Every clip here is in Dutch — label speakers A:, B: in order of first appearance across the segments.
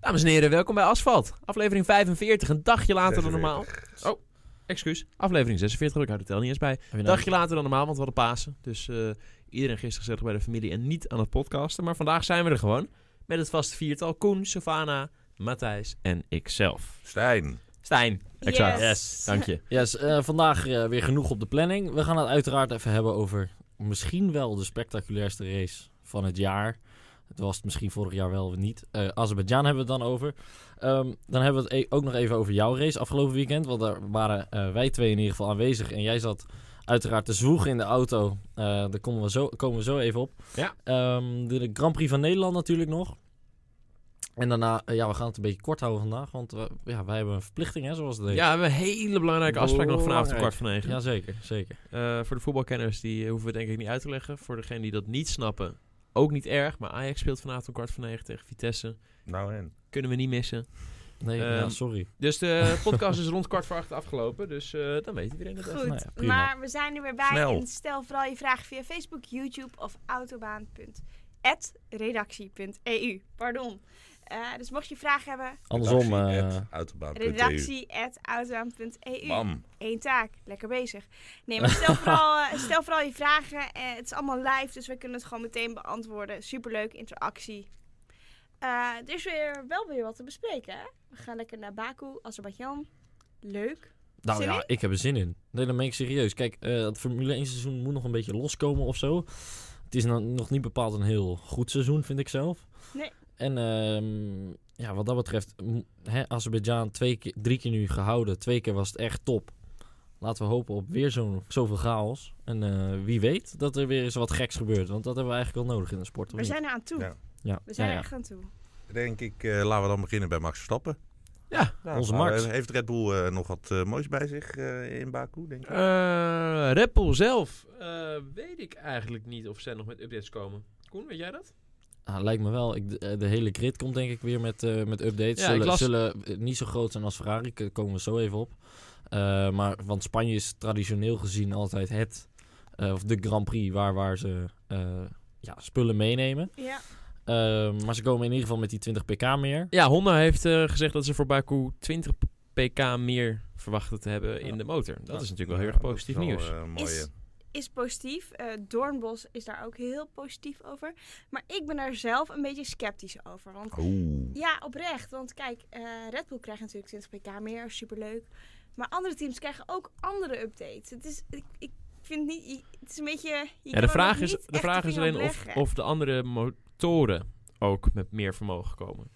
A: Dames en heren, welkom bij Asfalt. Aflevering 45, een dagje later dan normaal.
B: 46.
A: Oh. Excuus, aflevering 46, ik houd het tel niet eens bij.
C: Heb je
A: Een
C: nou-
A: dagje later dan normaal, want we hadden Pasen. Dus eh, iedereen gisteren gezellig bij de familie en niet aan het podcasten. Maar vandaag zijn we er gewoon met het vaste viertal. Koen, Savannah, Matthijs en ikzelf.
B: Stijn.
A: Stijn. Exact.
D: Yes.
A: Dank je.
C: Yes, eh, vandaag eh, weer genoeg op de planning. We gaan het uiteraard even hebben over misschien wel de spectaculairste race van het jaar. Het was het misschien vorig jaar wel of niet. Eh Azerbeidzjan hebben we het dan over. Ehm, dan hebben we het e- ook nog even over jouw race afgelopen weekend. Want daar waren eh, wij twee in ieder geval aanwezig. En jij zat uiteraard te zwoegen in de auto. Eh, daar komen we zo, komen we zo even op.
A: Ja.
C: Ehm, de, de Grand Prix van Nederland natuurlijk nog. En daarna, eh, ja, we gaan het een beetje kort houden vandaag. Want we, ja, wij hebben een verplichting, hè, zoals het heet.
A: Ja, we hebben een hele belangrijke afspraak nog vanavond om
C: Belangrijk.
A: kwart van negen.
C: Ja, zeker, zeker.
A: Eh, voor de voetbalkenners die eh, hoeven we denk ik niet uit te leggen. Voor degenen die dat niet snappen, ook niet erg. Maar Ajax speelt vanavond om kwart van negen tegen Vitesse.
B: Nou en.
A: Kunnen we niet missen.
C: Nee,
A: Ehm,
C: ja, sorry.
A: Dus de podcast is rond kwart voor acht afgelopen. Dus eh, dan weet iedereen het even.
D: Goed,
C: Nou ja, prima.
D: maar we zijn er weer bij.
B: Snel.
D: En stel vooral je vragen via Facebook, YouTube of autobaan.redactie.eu. e Pardon. Eh, dus mocht je vragen hebben,
C: Andersom, eh,
B: Redactie at autobaan.eu.
D: redactie.autobaan.eu.
B: Bam.
D: e Eén taak, lekker bezig. Nee, maar stel vooral, eh, stel vooral je vragen. Eh, het is allemaal live, dus we kunnen het gewoon meteen beantwoorden. Superleuk, interactie. Eh, er is weer, wel weer wat te bespreken, hè? We gaan lekker naar Baku, Azerbeidzjan. Leuk.
C: nou
D: Zin
C: ja, ik heb er zin in. Nee, dan ben ik serieus. Kijk, eh het Formule 1 seizoen moet nog een beetje loskomen of zo. Het is nou nog niet bepaald een heel goed seizoen, vind ik zelf.
D: Nee.
C: En ehm, ja, wat dat betreft, m- hè, Azerbeidzjan twee keer, drie keer nu gehouden. Twee keer was het echt top. Laten we hopen op weer zo'n, zoveel chaos. En eh, wie weet dat er weer eens wat geks gebeurt. Want dat hebben we eigenlijk wel nodig in de sport. of
D: We
C: niet?
D: zijn er aan toe.
B: Ja.
C: ja.
D: We zijn
C: ja,
D: er
C: ja.
D: echt aan toe.
B: Denk ik, eh, laten we dan beginnen bij Max Verstappen.
A: Ja,
C: onze
B: nou,
C: Max.
B: eh, Heeft Red Bull eh, nog wat eh, moois bij zich eh, in Baku, denk ik?
A: Eh, Red Bull zelf eh, weet ik eigenlijk niet of zij nog met updates komen. Koen, weet jij dat?
C: Ah, lijkt me wel. Ik, de, de hele grid komt denk ik weer met, eh, met updates.
A: Ja, ik
C: zullen,
A: las-
C: zullen eh, niet zo groot zijn als Ferrari, k- komen we zo even op. Eh, maar, want Spanje is traditioneel gezien altijd het, eh, of de Grand Prix waar, waar ze eh, ja, spullen meenemen.
D: Ja.
C: Eh, maar ze komen in ieder geval met die 20 pk meer.
A: Ja, Honda heeft eh, gezegd dat ze voor Baku 20 pk meer verwachten te hebben in de motor. Nou, Dat is natuurlijk wel heel erg
B: Ja,
A: positief
B: dat is wel,
A: nieuws.
B: eh, mooie.
D: Is- is positief. Eh Doornbos is daar ook heel positief over. Maar ik ben daar zelf een beetje sceptisch over. Want
B: eh, Oeh.
D: ja, oprecht. Want kijk, eh, Red Bull krijgt natuurlijk 20 pk meer. Superleuk. Maar andere teams krijgen ook andere updates. Het is, ik, ik vind niet... je- Het is een beetje... je
A: Ja,
D: kan
A: de
D: er
A: vraag
D: nog
A: is,
D: niet
A: de
D: echt
A: vraag is
D: vinger op
A: alleen of,
D: leggen.
A: of de andere motoren ook met meer vermogen komen.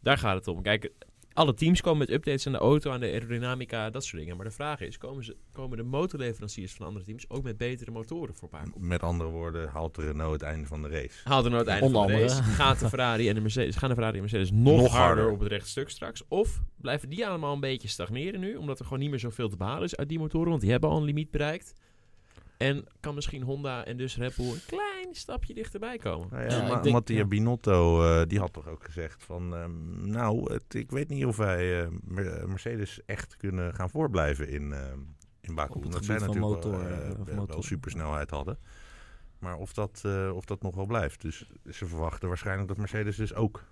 A: Daar gaat het om. Kijk, alle teams komen met updates aan de auto, aan de aerodynamica, dat soort dingen. Maar de vraag is, komen, ze, komen de motorleveranciers van andere teams ook met betere motoren voor Baku?
B: Met andere woorden, haalt de Renault het einde van de race.
A: Haalt er nou het einde
C: Onder
A: van de race.
C: andere.
A: Gaat de Ferrari en de Mercedes, gaan de Ferrari en Mercedes nog,
B: Nog
A: harder,
B: harder.
A: op het rechte stuk straks? Of blijven die allemaal een beetje stagneren nu? Omdat er gewoon niet meer zoveel te behalen is uit die motoren. Want die hebben al een limiet bereikt. En kan misschien Honda en dus Red Bull een klein stapje dichterbij komen.
B: Nou ja,
C: Ja,
B: Ma-
C: ik denk-
B: Mattia
C: ja.
B: Binotto, eh, die had toch ook gezegd van... ehm, nou, het, ik weet niet of wij eh, Mer- Mercedes echt kunnen gaan voorblijven in, ehm in Baku.
C: Op het
B: Omdat zij
C: gebied van
B: natuurlijk
C: motor,
B: wel, eh,
C: eh, of
B: wel- wel
C: motor.
B: supersnelheid hadden. Maar of dat, eh, of dat nog wel blijft. Dus ze verwachten waarschijnlijk dat Mercedes dus ook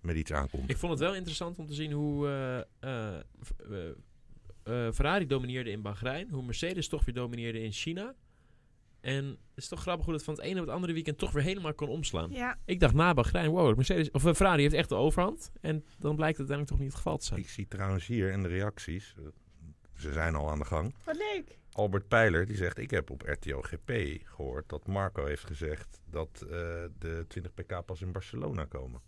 B: met iets aankomt.
A: Ik vond het wel interessant om te zien hoe eh, eh, v- eh, eh, Ferrari domineerde in Bahrein. Hoe Mercedes toch weer domineerde in China. En het is toch grappig hoe dat van het ene op het andere weekend toch weer helemaal kon omslaan.
D: Ja,
A: Ik dacht na Bahrein, wow, Mercedes, of eh, Ferrari heeft echt de overhand. En dan blijkt het uiteindelijk toch niet het geval te zijn. Oh,
B: Ik zie trouwens hier in de reacties... eh, ze zijn al aan de gang.
D: wat leuk.
B: Albert Pijler die zegt: Ik heb op RTO GP gehoord dat Marco heeft gezegd dat eh, de 20 pk pas in Barcelona komen.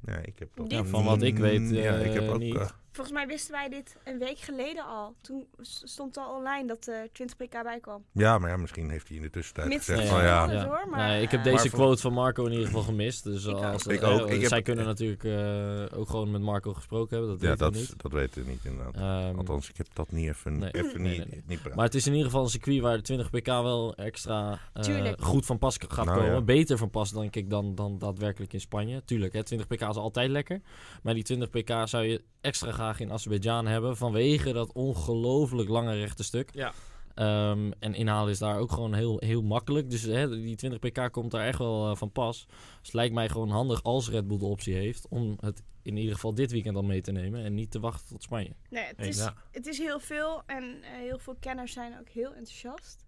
B: Nee, ik heb dat
D: Ja,
C: van wat ik weet,
B: ja, ik heb
C: eh,
B: ook.
C: niet.
B: eh,
D: Volgens mij wisten wij dit een week geleden al. Toen s- stond al online dat eh 20 pk bij kwam.
B: ja, maar ja, misschien heeft hij in de tussentijd
D: Mits
B: gezegd:
D: het
B: van
D: verhaal
B: ja,
D: is, hoor, maar,
C: Nee, ik heb
D: eh,
C: deze
B: Maar voor-
C: quote van Marco in ieder geval gemist. Dus
D: Ik
C: als,
B: ook. Ik
C: eh,
B: ook. Ik heb-
C: zij kunnen natuurlijk eh, ook gewoon met Marco gesproken hebben. Dat
B: ja
C: weet ik
B: dat,
C: niet.
B: dat weten we niet inderdaad.
C: Ehm,
B: Althans, ik heb dat niet even,
C: Nee.
B: even
C: Nee,
B: niet,
C: nee, nee.
B: niet praten.
C: Maar het is in ieder geval een circuit waar de 20 pk wel extra eh,
D: Tuurlijk.
C: goed van pas gaat
B: Nou,
C: komen.
B: ja.
C: Beter van pas denk ik dan, dan daadwerkelijk in Spanje. Tuurlijk, hè, 20 pk is altijd lekker. Maar die 20 pk zou je extra graag in Azerbeidzjan hebben vanwege dat ongelooflijk lange rechte stuk.
A: Ja.
C: Eh, Ehm, en inhalen is daar ook gewoon heel, heel makkelijk. Dus hè, die 20 pk komt daar echt wel eh, van pas. Dus lijkt mij gewoon handig als Red Bull de optie heeft... om het in ieder geval dit weekend al mee te nemen... en niet te wachten tot Spanje.
D: Nee, het,
A: Eens.
D: is,
C: Ja.
D: het is heel veel en eh, heel veel kenners zijn ook heel enthousiast.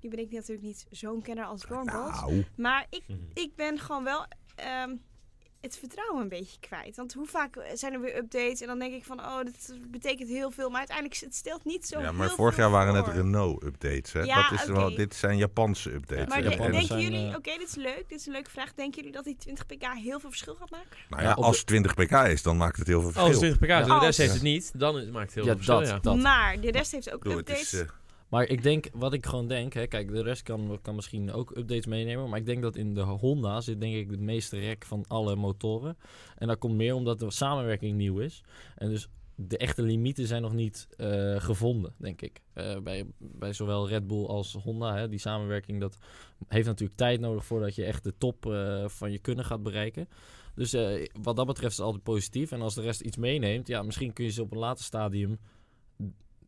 D: Nu ben ik natuurlijk niet zo'n kenner als Dornbos.
B: Nou,
D: Maar ik,
A: Mhm.
D: ik ben gewoon wel ehm, het vertrouwen een beetje kwijt. Want hoe vaak zijn er weer updates en dan denk ik van, oh, dat betekent heel veel. Maar uiteindelijk, het stelt niet zo
B: ja, maar
D: heel
B: vorig
D: veel
B: jaar waren
D: voor.
B: het Renault-updates. hè?
D: Ja,
B: dat is wel,
D: oké.
B: dit zijn Japanse updates.
D: Maar
C: Ja,
D: de-
C: Japanners
D: denken
C: zijn,
D: jullie,
C: eh,
D: oké, dit is leuk, dit is een leuke vraag. Denken jullie dat die 20 pk heel veel verschil gaat maken?
B: nou
C: Ja,
B: ja,
C: op de- Oh,
B: als 20 pk is, dan maakt het heel veel
A: Als
B: verschil.
A: 20 dus pk is en de
D: Als.
A: rest heeft het niet, dan is- maakt het heel
C: Ja,
A: veel verschil,
C: dat,
A: ja.
C: dat.
D: Maar de rest heeft ook
B: Ik bedoel, het
D: updates.
B: is, eh,
C: Maar ik denk, wat ik gewoon denk, hè, kijk, de rest kan, kan misschien ook updates meenemen. Maar ik denk dat in de Honda zit, denk ik, de meeste rek van alle motoren. En dat komt meer omdat de samenwerking nieuw is. En dus de echte limieten zijn nog niet eh, gevonden, denk ik. Eh, bij, bij zowel Red Bull als Honda, hè, die samenwerking, dat heeft natuurlijk tijd nodig voordat je echt de top eh, van je kunnen gaat bereiken. Dus eh, wat dat betreft is het altijd positief. En als de rest iets meeneemt, ja, misschien kun je ze op een later stadium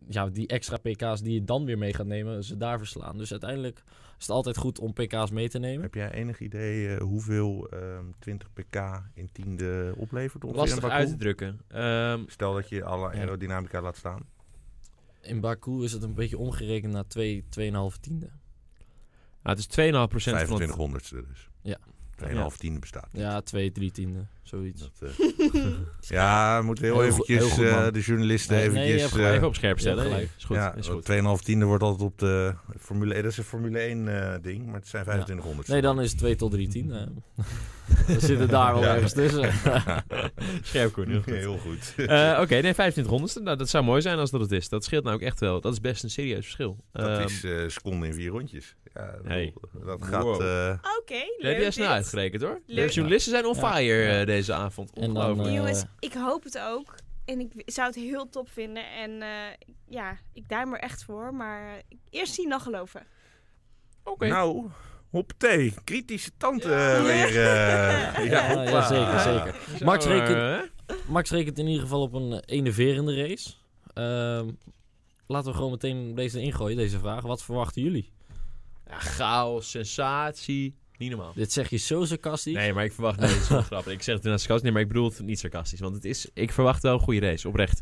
C: ja, die extra pk's die je dan weer mee gaat nemen, ze daar verslaan. Dus uiteindelijk is het altijd goed om pk's mee te nemen.
B: heb jij enig idee eh, hoeveel ehm, 20 pk in tiende oplevert? ongeveer in
A: Lastig
B: Baku?
A: uit te drukken. Ehm,
B: Stel dat je alle
C: Ja.
B: aerodynamica laat staan.
C: In Baku is het een beetje omgerekend naar 2, 2,5 tiende.
A: nou, het is 2,5% van het...
B: 2500ste dus.
C: Ja.
B: 2,5 tiende bestaat.
C: Ja, 2, 3 tiende, zoiets.
B: Dat, eh, ja, moeten we heel,
C: Heel goed-
B: eventjes
C: heel goed,
B: eh,
C: man.
B: de journalisten
C: Nee, nee, je
B: eventjes...
C: hebt gelijk.
B: eh,
A: Even op scherp stellen.
C: Ja, gelijk.
A: Is goed,
B: ja,
A: is
B: want
A: goed.
B: 2,5 tiende wordt altijd op de Formule 1. Dat is een Formule 1 eh, ding, maar het zijn 2500.
C: Nee, dan is het 2 tot 3 tiende. We zitten daar wel
B: Ja.
C: ergens tussen.
A: Scherp, Koen. heel goed.
B: Heel goed.
A: Eh, Oké, nee, 2500ste. Nou, dat zou mooi zijn als dat het is. Dat scheelt nou ook echt wel. Dat is best een serieus verschil.
B: dat
A: Ehm,
B: is eh seconde in vier rondjes. Ja, ik
A: Hey.
B: bedoel, Dat
A: Wow.
B: gaat... eh,
D: Oké,
A: dat heb
D: leuk
A: jij snel
D: dit.
A: uitgerekend hoor. De
D: Leuk.
A: journalisten zijn on
C: Ja.
A: fire eh,
C: Ja.
A: deze avond.
C: En dan,
A: Ongelooflijk.
C: eh,
D: Jongens, ik hoop het ook. En ik w- zou het heel top vinden. En eh, ja, ik duim er echt voor. Maar eh, eerst zien dan geloven.
A: Oké.
B: Nou, hop thee. Kritische tante
A: Ja.
B: eh, weer. eh.
C: Ja,
B: hoppa.
C: ja, zeker, zeker.
A: Zo,
C: Max rekent-
A: eh,
C: Max rekent in ieder geval op een eh, enerverende race. Ehm, laten we gewoon meteen deze ingooien, deze vraag. Wat verwachten jullie?
A: ja, chaos, sensatie. Niet normaal.
C: Dit zeg je zo sarcastisch.
A: Nee, maar ik verwacht nee, het is wel grappig. Ik zeg het inderdaad sarcastisch, nee, maar ik bedoel het niet sarcastisch. Want het is, ik verwacht wel een goede race, oprecht.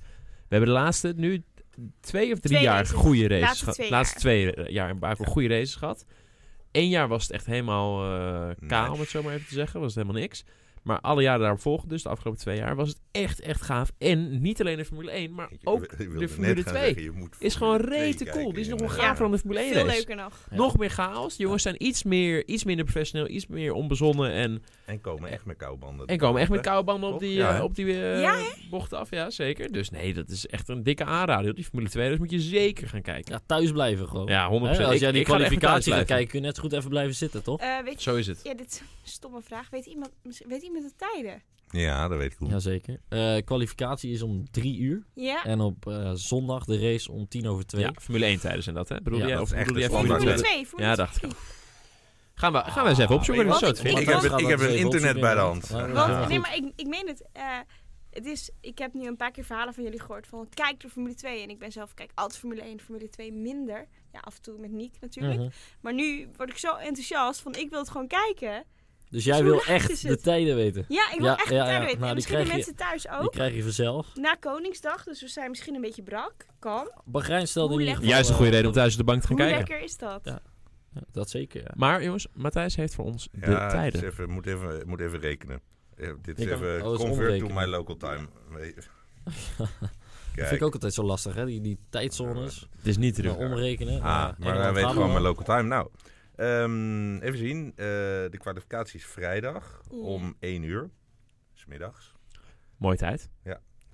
A: We hebben de laatste nu twee of drie
D: Twee
A: jaar
D: races.
A: goede races
D: Laatste
A: gehad.
D: twee
A: laatste twee eh, jaar in Baku goede races gehad. Eén jaar was het echt helemaal eh kaal, om het zo maar even te zeggen. Was het helemaal niks. Maar alle jaren daarop volgen, dus de afgelopen twee jaar, was het echt, echt gaaf. En niet alleen de Formule 1, maar
B: Ik wil-
A: ook
B: ik wilde
A: de
B: net
A: Formule
B: gaan
A: 2
B: zeggen, je moet
A: is gewoon
B: Formule 2
A: rete cool.
B: kijken
A: Die is nog wel
B: inderdaad.
A: gaver dan de Formule 1
D: Veel
A: race.
D: leuker nog.
C: Ja.
A: Nog meer chaos. De jongens zijn iets meer, iets minder professioneel, iets meer onbezonnen en
B: En komen echt met koude banden.
A: en komen echt met
B: Hè?
A: koude banden op
B: Toch?
A: die,
B: Ja,
A: eh,
B: hè?
A: op die eh,
D: Ja,
A: bochten af. Ja, zeker. Dus nee, dat is echt een dikke aanrader. Die Formule 2, dus moet je zeker gaan kijken.
C: Ja, thuis blijven gewoon.
A: Ja, 100%.
C: Hè, als
A: Ik-
C: jij die
A: ik ga er echt met thuis
C: kwalificatie
A: blijven.
C: gaat kijken, kun je net zo goed even blijven zitten, toch?
D: Eh, weet je,
A: Zo is het.
D: ja, dit is een stomme vraag. Weet iemand, misschien- weet iemand de tijden?
B: Ja, dat weet ik goed.
C: Jazeker. Eh, kwalificatie is om drie uur.
D: Ja?
C: En op eh, zondag de race om tien over twee.
A: Ja, Formule 1 tijdens en dat, hè? Bedoel
C: Ja,
A: jij?
B: dat
A: Of
B: is echt
A: bedoel jij
B: een
D: Nee,
A: Formule
B: standaard.
D: Formule
A: 2?
D: 2.
A: Ja,
D: Formule
A: dacht ik
D: 2.
A: Gaan we, gaan we eens even opzoeken
B: Ah,
A: wat
D: weet
A: je
D: je
A: zo te
D: wat?
A: vinden.
B: Ik
A: is.
B: heb- ik heb een internet bij de hand.
D: Want,
B: Ja.
D: nee, maar ik, ik meen het. eh, het is, ik heb nu een paar keer verhalen van jullie gehoord van kijk de Formule 2. En ik ben zelf, kijk altijd Formule 1, Formule 2 minder. Ja, af en toe met Niek
A: Mhm.
D: natuurlijk. Maar nu word ik zo enthousiast van ik wil het gewoon kijken.
C: Dus jij
D: Hoe
C: wil
D: laat is
C: echt de
D: het? Oh.
C: tijden weten.
D: Ja, ik wil
C: Ja,
D: echt
C: ja,
D: de tijden
C: ja. Nou,
D: weten.
C: die
D: en misschien de
C: krijg je-
D: mensen thuis
C: Die
D: ook.
C: krijg je vanzelf.
D: Na Koningsdag, dus we zijn misschien een beetje brak. Kan.
C: Bahrein stelde in
D: Hoe
C: ieder geval...
D: lekker.
A: Juist een goede
C: eh,
A: reden om thuis op de bank te gaan
D: Hoe
A: kijken.
D: lekker is dat?
C: Ja. Ja, dat zeker, ja.
A: Maar jongens, Matthijs heeft voor ons de
B: Ja, het is
A: tijden.
B: even, moet, even, moet even rekenen. Eh, Dit is
C: Ik kan-
B: even
C: oh, het is
B: convert to
C: omrekenen.
B: my local time.
C: Dat
B: Kijk.
C: vind ik ook altijd zo lastig, hè. Die, die tijdzones.
A: Het is niet te
C: Nou,
A: doen.
C: omrekenen.
B: Ah, maar wij weten gewoon mijn local time. Nou, ehm, even zien. Eh, de kwalificatie is vrijdag
D: Ja.
B: om 1 uur. 's middags.
A: Mooie tijd.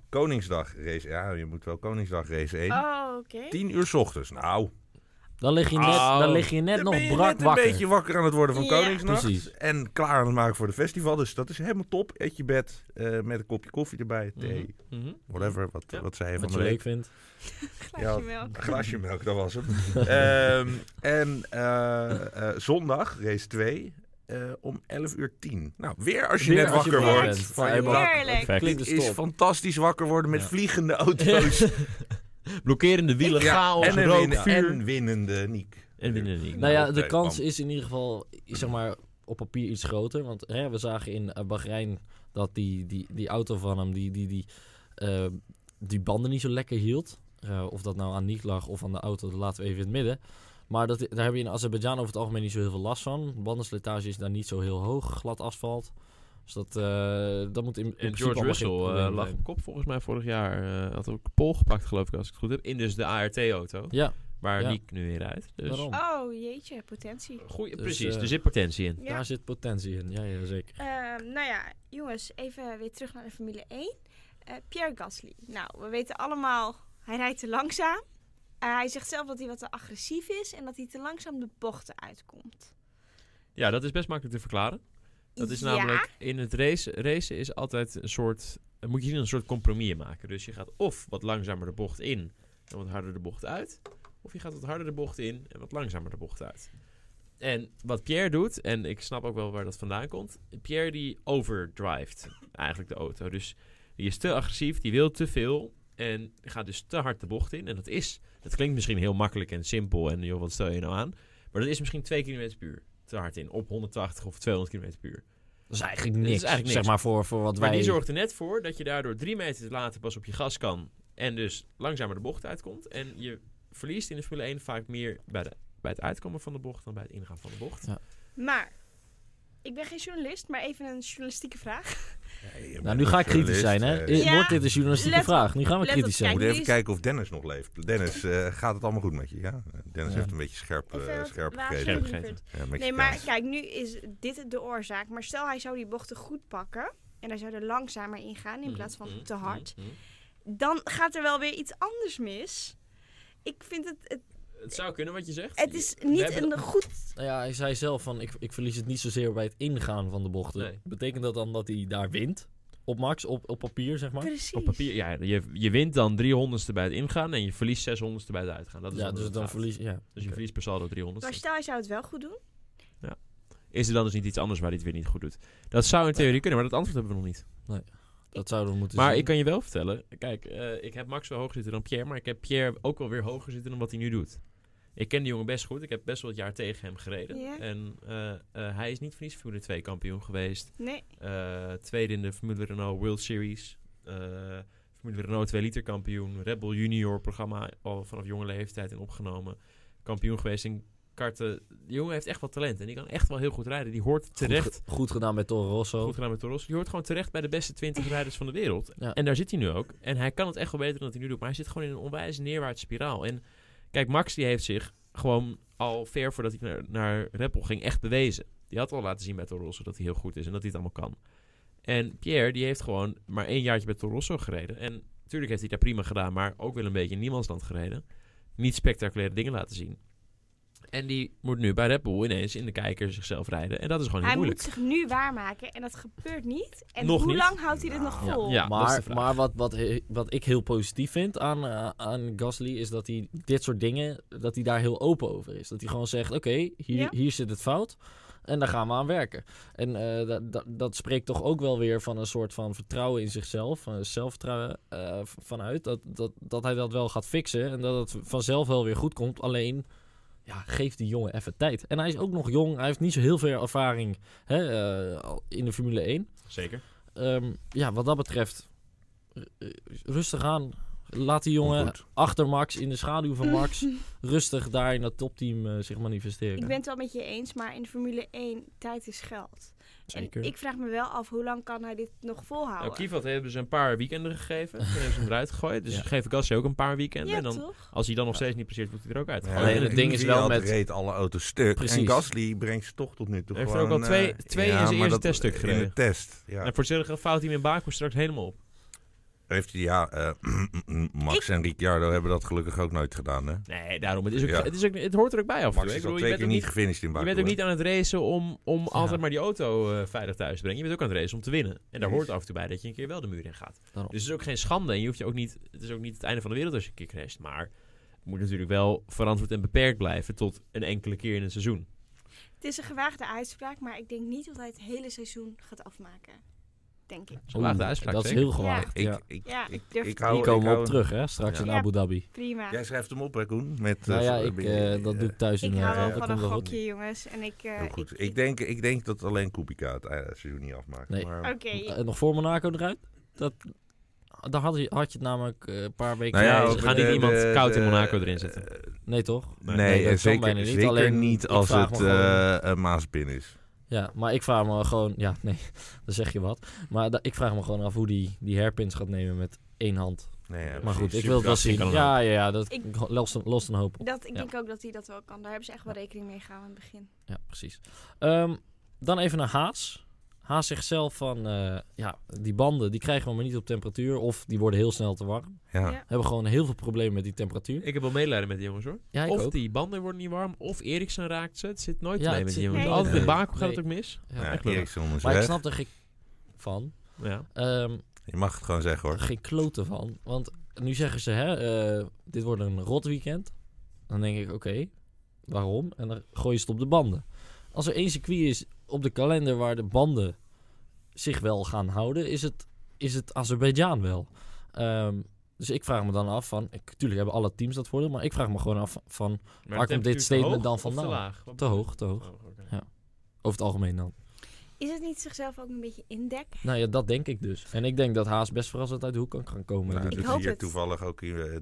B: Koningsdag race. Ja, je moet wel Koningsdag race 1.
C: Ah.
D: Oh, oké.
B: 10 uur 's ochtends. Nou,
C: Dan lig je net,
A: Oh.
C: dan lig je net
B: dan ben
C: nog
B: je
C: brak
B: net een
C: wakker.
B: beetje wakker aan het worden van
D: Ja.
B: Koningsnacht.
C: Precies.
B: En klaar aan het maken voor de festival. Dus dat is helemaal top. Eet je bed eh, met een kopje koffie erbij, thee,
A: Mhm. Mhm.
B: whatever. Wat,
A: Ja.
B: wat zij van
C: Wat
B: de
C: je
B: week.
C: leuk vindt.
D: Glaasje melk.
B: Een glaasje melk, dat was hem. Ehm, en eh, eh, zondag, race 2, eh, om 11 uur 10. Nou, weer als je
C: Weer
B: net
C: als je
B: wakker
D: wakker
B: wordt
C: bent.
B: van je
C: Heerlijk.
B: bak.
D: Heerlijk.
A: Perfect.
B: Dit
C: Klinkt dus
B: is
C: top.
B: fantastisch wakker worden met
C: Ja.
B: vliegende auto's.
A: Blokkerende wielen,
B: Ja,
A: chaos,
B: en, een
A: rook,
B: win-
A: vuur.
B: en winnende Niek.
A: En winnen niet.
C: Nou ja,
B: Oké,
C: de kans
B: bam.
C: is in ieder geval zeg maar, op papier iets groter. Want hè, we zagen in eh, Bahrein dat die, die, die auto van hem die, die, die, eh, die banden niet zo lekker hield. Eh, of dat nou aan Niek lag of aan de auto, dat laten we even in het midden. Maar dat, daar heb je in Azerbeidzjan over het algemeen niet zo heel veel last van. Bandenslijtage is daar niet zo heel hoog, glad asfalt. Dus dat, eh, dat moet in, in
A: En
C: principe
A: George
C: allemaal geen
A: Russell eh,
C: probleem
A: lag
C: zijn.
A: op kop volgens mij vorig jaar. eh, had ook pol gepakt, geloof ik, als ik het goed heb. In dus de ART-auto.
C: Ja,
A: Waar
C: Ja.
A: Niek nu in rijdt. Dus
C: daarom.
D: Oh, jeetje, potentie.
A: Goeie,
C: Dus,
A: precies,
C: eh,
A: er zit potentie in.
D: Ja.
C: Daar zit potentie in, ja, ja zeker.
D: Ehm, nou ja, jongens, even weer terug naar de Formule 1. Eh, Pierre Gasly. Nou, we weten allemaal, hij rijdt te langzaam. Eh, hij zegt zelf dat hij wat te agressief is en dat hij te langzaam de bochten uitkomt.
A: Ja, dat is best makkelijk te verklaren. Dat is
D: Ja.
A: namelijk in het race, racen is altijd een soort. eh, Moet je hier een soort compromis in maken. Dus je gaat of wat langzamer de bocht in en wat harder de bocht uit. Of je gaat wat harder de bocht in en wat langzamer de bocht uit. En wat Pierre doet, en ik snap ook wel waar dat vandaan komt. Pierre die overdrivet eigenlijk de auto. Dus die is te agressief, die wil te veel. En gaat dus te hard de bocht in. En dat is, dat klinkt misschien heel makkelijk en simpel. En joh, wat stel je nou aan? Maar dat is misschien 2 km per uur te hard in. Op 180 of 200 km per uur.
C: Dat is eigenlijk
A: is
C: niks,
A: eigenlijk niks.
C: zeg maar, voor, voor wat
A: Maar
C: wij...
A: die zorgt er net voor dat je daardoor drie meter te later pas op je gas kan. En dus langzamer de bocht uitkomt. En je verliest in de Formule 1 vaak meer bij, de, bij het uitkomen van de bocht dan bij het ingaan van de bocht.
D: Maar, ik ben geen journalist, maar even een journalistieke vraag.
B: Hey, je
C: Nou,
B: bent
C: nu
B: een
C: ga ik kritisch
B: journalist,
C: zijn, hè?
B: eh,
D: Ja.
C: Wordt dit een journalistieke
D: Let op,
C: vraag? Nu gaan we
D: let op,
C: kritisch zijn.
B: Ik moet
D: Kijk,
B: even
D: nu is-
B: kijken of Dennis nog leeft. Dennis, eh, gaat het allemaal goed met je? Ja? Dennis
C: Ja.
B: heeft een beetje scherp, eh,
D: Even wat
B: scherp
D: waarschuwing,
B: gegeven.
A: Scherp gegeven.
D: Lievert.
B: Ja, met je
D: Nee, maar
B: kaas.
D: kijk, nu is dit de oorzaak. Maar stel hij zou die bochten goed pakken en hij zou er langzamer in gaan
A: Mhm,
D: in plaats van te hard. Dan gaat er wel weer iets anders mis. Ik vind het, het,
A: Het zou kunnen wat je zegt.
D: het is
A: We
D: niet
A: hebben-
D: een goed
C: Nou ja, hij zei zelf van, ik, ik verlies het niet zozeer bij het ingaan van de bochten.
A: Nee.
C: Betekent dat dan dat hij daar wint? Op max, op, op papier, zeg maar?
D: precies.
A: Op papier, ja, je, je wint dan 300ste bij het ingaan en je verliest 600ste bij het uitgaan. Dat is
C: ja,
A: hoe
C: dus
A: het
C: dan
A: gaat.
C: verlies... Ja.
A: Dus je verliest per saldo
D: Maar
A: 300.
D: stel hij zou het wel goed doen.
A: Is er dan dus niet iets anders waar hij het weer niet goed doet? Dat zou in theorie kunnen, maar dat antwoord hebben we nog niet.
C: Dat zouden we moeten
A: Maar
C: zien.
A: ik kan je wel vertellen, kijk, eh, ik heb Max wel hoger zitten dan Pierre, maar ik heb Pierre ook wel weer hoger zitten dan wat hij nu doet. Ik ken die jongen best goed, ik heb best wel het jaar tegen hem gereden.
D: Ja.
A: En eh, eh, hij is niet voor niets Formule 2 kampioen geweest.
D: Nee.
A: Eh, tweede in de Formule Renault World Series. Eh, Formule Renault 2 liter kampioen. Red Bull Junior programma al vanaf jonge leeftijd in opgenomen. Kampioen geweest in karten. Die jongen heeft echt wel talent en die kan echt wel heel goed rijden. Die hoort
C: Goed
A: terecht
C: ge- Goed, gedaan bij Toro Rosso.
A: Goed gedaan met Toros. Je hoort gewoon terecht bij de beste 20 rijders van de wereld.
C: Ja.
A: En daar zit hij nu ook. En hij kan het echt wel beter dan dat hij nu doet. Maar hij zit gewoon in een onwijze neerwaartse spiraal. En kijk, Max die heeft zich gewoon al ver voordat hij naar, naar Red Bull ging echt bewezen. Die had al laten zien bij Toro Rosso dat hij heel goed is en dat hij het allemaal kan. En Pierre die heeft gewoon maar één jaartje bij Toro Rosso gereden. En natuurlijk heeft hij daar prima gedaan, maar ook wel een beetje in niemandsland gereden. Niet spectaculaire dingen laten zien. En die moet nu bij Red Bull ineens in de kijker zichzelf rijden. En dat is gewoon heel
D: Hij
A: moeilijk.
D: moet zich nu waarmaken en dat gebeurt niet. En
A: Nog
D: hoe
A: niet.
D: lang houdt hij dit nog
B: Nou,
D: vol?
A: ja. dat is de
C: maar
A: vraag.
C: maar wat, wat, he- wat ik heel positief vind aan, eh, aan Gasly is dat hij dit soort dingen, dat hij daar heel open over is. Dat hij gewoon zegt, oké, hier,
D: Ja.
C: hier zit het fout en daar gaan we aan werken. En eh, dat, dat, dat spreekt toch ook wel weer van een soort van vertrouwen in zichzelf, van zelfvertrouwen eh, v- vanuit, dat, dat, dat hij dat wel gaat fixen en dat het vanzelf wel weer goed komt. Alleen... Ja, geef die jongen even tijd. En hij is ook nog jong. Hij heeft niet zo heel veel ervaring hè, eh, al in de Formule 1.
A: Zeker.
C: Ehm, ja, wat dat betreft, eh, eh, rustig aan. Laat die jongen
B: Goed.
C: achter Max, in de schaduw van Max, rustig daar in dat topteam eh, zich manifesteren.
D: Ik ben het wel met je eens, maar in de Formule 1, tijd is geld. En ik vraag me wel af, hoe lang kan hij dit nog volhouden?
A: Nou, Kivat hebben ze een paar weekenden gegeven. Toen hebben ze hem eruit gegooid. Dus
C: Ja.
A: geef ik Gassi ook een paar weekenden.
D: ja,
A: en dan,
D: toch?
A: als hij dan nog steeds niet presteert, wordt hij er ook uit.
B: Ja,
C: Alleen het
B: en
C: ding is
B: Gasly
C: wel
B: had-
C: met-
B: reed alle auto's stuk. En
C: Precies.
B: Gasly brengt ze toch tot nu toe
A: Hij heeft er
B: gewoon...
A: ook al twee-
B: eh,
A: twee in zijn
B: maar
A: eerste
B: dat-
A: teststuk
B: In
A: gereden.
B: de test, ja.
A: En voor hetzelfde fout hij hem in Baku straks helemaal op.
B: Heeft, hij- ja eh, Max en Ricciardo hebben dat gelukkig ook nooit gedaan, hè?
A: Nee, daarom. Het, is ook,
B: Ja.
A: het, is ook, het hoort er ook bij af en
B: Max
A: toe. Ik
B: is al
A: bedoel,
B: twee
A: je
B: keer
A: bent,
B: niet
A: ook niet,
B: gefinished in
A: je
B: Baku.
A: bent ook niet aan het racen om, om altijd
C: Ja.
A: maar die auto eh, veilig thuis te brengen. Je bent ook aan het racen om te winnen. En daar
B: Precies.
A: hoort af en toe bij dat je een keer wel de muur in gaat.
C: Daarom.
A: Dus het is ook geen schande. En je hoeft je ook niet, het is ook niet het einde van de wereld als je een keer crasht. Maar het moet natuurlijk wel verantwoord en beperkt blijven tot een enkele keer in een seizoen.
D: Het is een gewaagde uitspraak, maar ik denk niet dat hij het hele seizoen gaat afmaken. denk ik.
A: Gewaagde uitspraak,
C: dat is
A: zeker.
C: heel gewaagd.
B: Ik,
C: Ja.
B: ik,
D: Ja,
B: ik,
D: ik durf
B: ik
D: het
B: hou,
C: Die komen
B: ik
C: we op
B: hou-
C: terug, hè? Straks in
D: Ja.
C: Abu Dhabi.
D: Prima.
B: Jij schrijft hem op, hè, Koen? Met,
C: Nou
B: eh,
C: ja,
B: zo-
C: ik,
B: eh,
C: eh, dat doe ik thuis
D: ik
C: inderdaad.
D: hou
C: Dat
D: wel van
C: komt
D: een
C: wel goed.
D: gokje, jongens. En ik... eh,
B: Heel
D: ik-
B: goed. Ik denk, ik denk dat alleen Kubica het eh, seizoen niet afmaakt.
C: Nee.
B: Maar,
D: Oké.
C: Eh, nog voor Monaco eruit? Dat, daar had je, had je het namelijk eh, een paar weken
B: Nou ja,
A: Nee,
B: ook
A: ze gaan
B: de-
A: niet iemand
B: de-
A: koud in
B: de-
A: Monaco erin zetten.
B: eh,
C: Nee, toch?
B: Nee,
C: Nee, dat
B: eh,
C: kan
B: zeker,
C: bijna niet.
B: zeker
C: Alleen,
B: niet
C: ik
B: als
C: vraag
B: het
C: me gewoon-
B: eh, een Maasbin is.
C: Ja, maar ik vraag me gewoon... Ja, nee, dan zeg je wat. Maar da- ik vraag me gewoon af hoe die, die hairpins gaat nemen met één hand.
B: Nee, ja,
C: maar goed,
B: precies.
C: ik wil het wel
A: Superkracht, die kan
C: zien.
A: er
C: Ja, ja, ja, dat
D: Ik-
C: lost, een, lost een hoop op.
D: Dat, ik
C: Ja.
D: denk ook dat hij dat wel kan. Daar hebben ze echt wel rekening mee gehouden in het begin.
C: Ja, precies. Ehm, dan even naar Haas. Haas zegt zelf van... eh, ja, die banden, die krijgen we maar niet op temperatuur. Of die worden heel snel te warm.
B: Ja.
D: Ja.
C: Hebben gewoon heel veel problemen met die temperatuur.
A: Ik heb wel medelijden met die jongens hoor.
C: Ja, ik
A: of
C: ook.
A: die banden worden niet warm, of Eriksen raakt ze. Het zit nooit
C: Ja,
A: mee
C: het
A: met die
C: zit
A: jongens.
D: niet.
A: Altijd
B: Nee.
A: in Baku gaat
C: Nee.
A: het ook mis.
C: Ja,
B: Ja,
A: echt leuk.
B: Erikson is
C: maar ik
B: weg.
C: snap er geen van.
A: Ja.
C: Ehm,
B: Je mag het gewoon zeggen, hoor.
C: geen kloten van. Want nu zeggen ze, hè, eh, dit wordt een rot weekend. Dan denk ik, oké, waarom? En dan gooi je het op de banden. Als er één circuit is op de kalender waar de banden zich wel gaan houden, is het, is het Azerbeidzjan wel. Ehm, dus ik vraag me dan af van, ik, tuurlijk hebben alle teams dat voordeel, maar ik vraag me gewoon af van,
A: Maar
C: komt
A: de temperatuur
C: dit statement
A: te hoog
C: dan
A: of
C: vandaan?
A: Te laag. Wat
C: te
A: bedoel je?
C: hoog, te hoog.
A: Oh, oké.
C: Over het algemeen dan.
D: Is het niet zichzelf ook een beetje indekken?
C: Nou ja, dat denk ik dus. En ik denk dat Haas best verrassend uit de hoek kan gaan komen.
B: Nou,
C: dit
B: dat
D: Ik
B: is
D: hoop
B: hier
D: het.
B: toevallig ook hier, eh,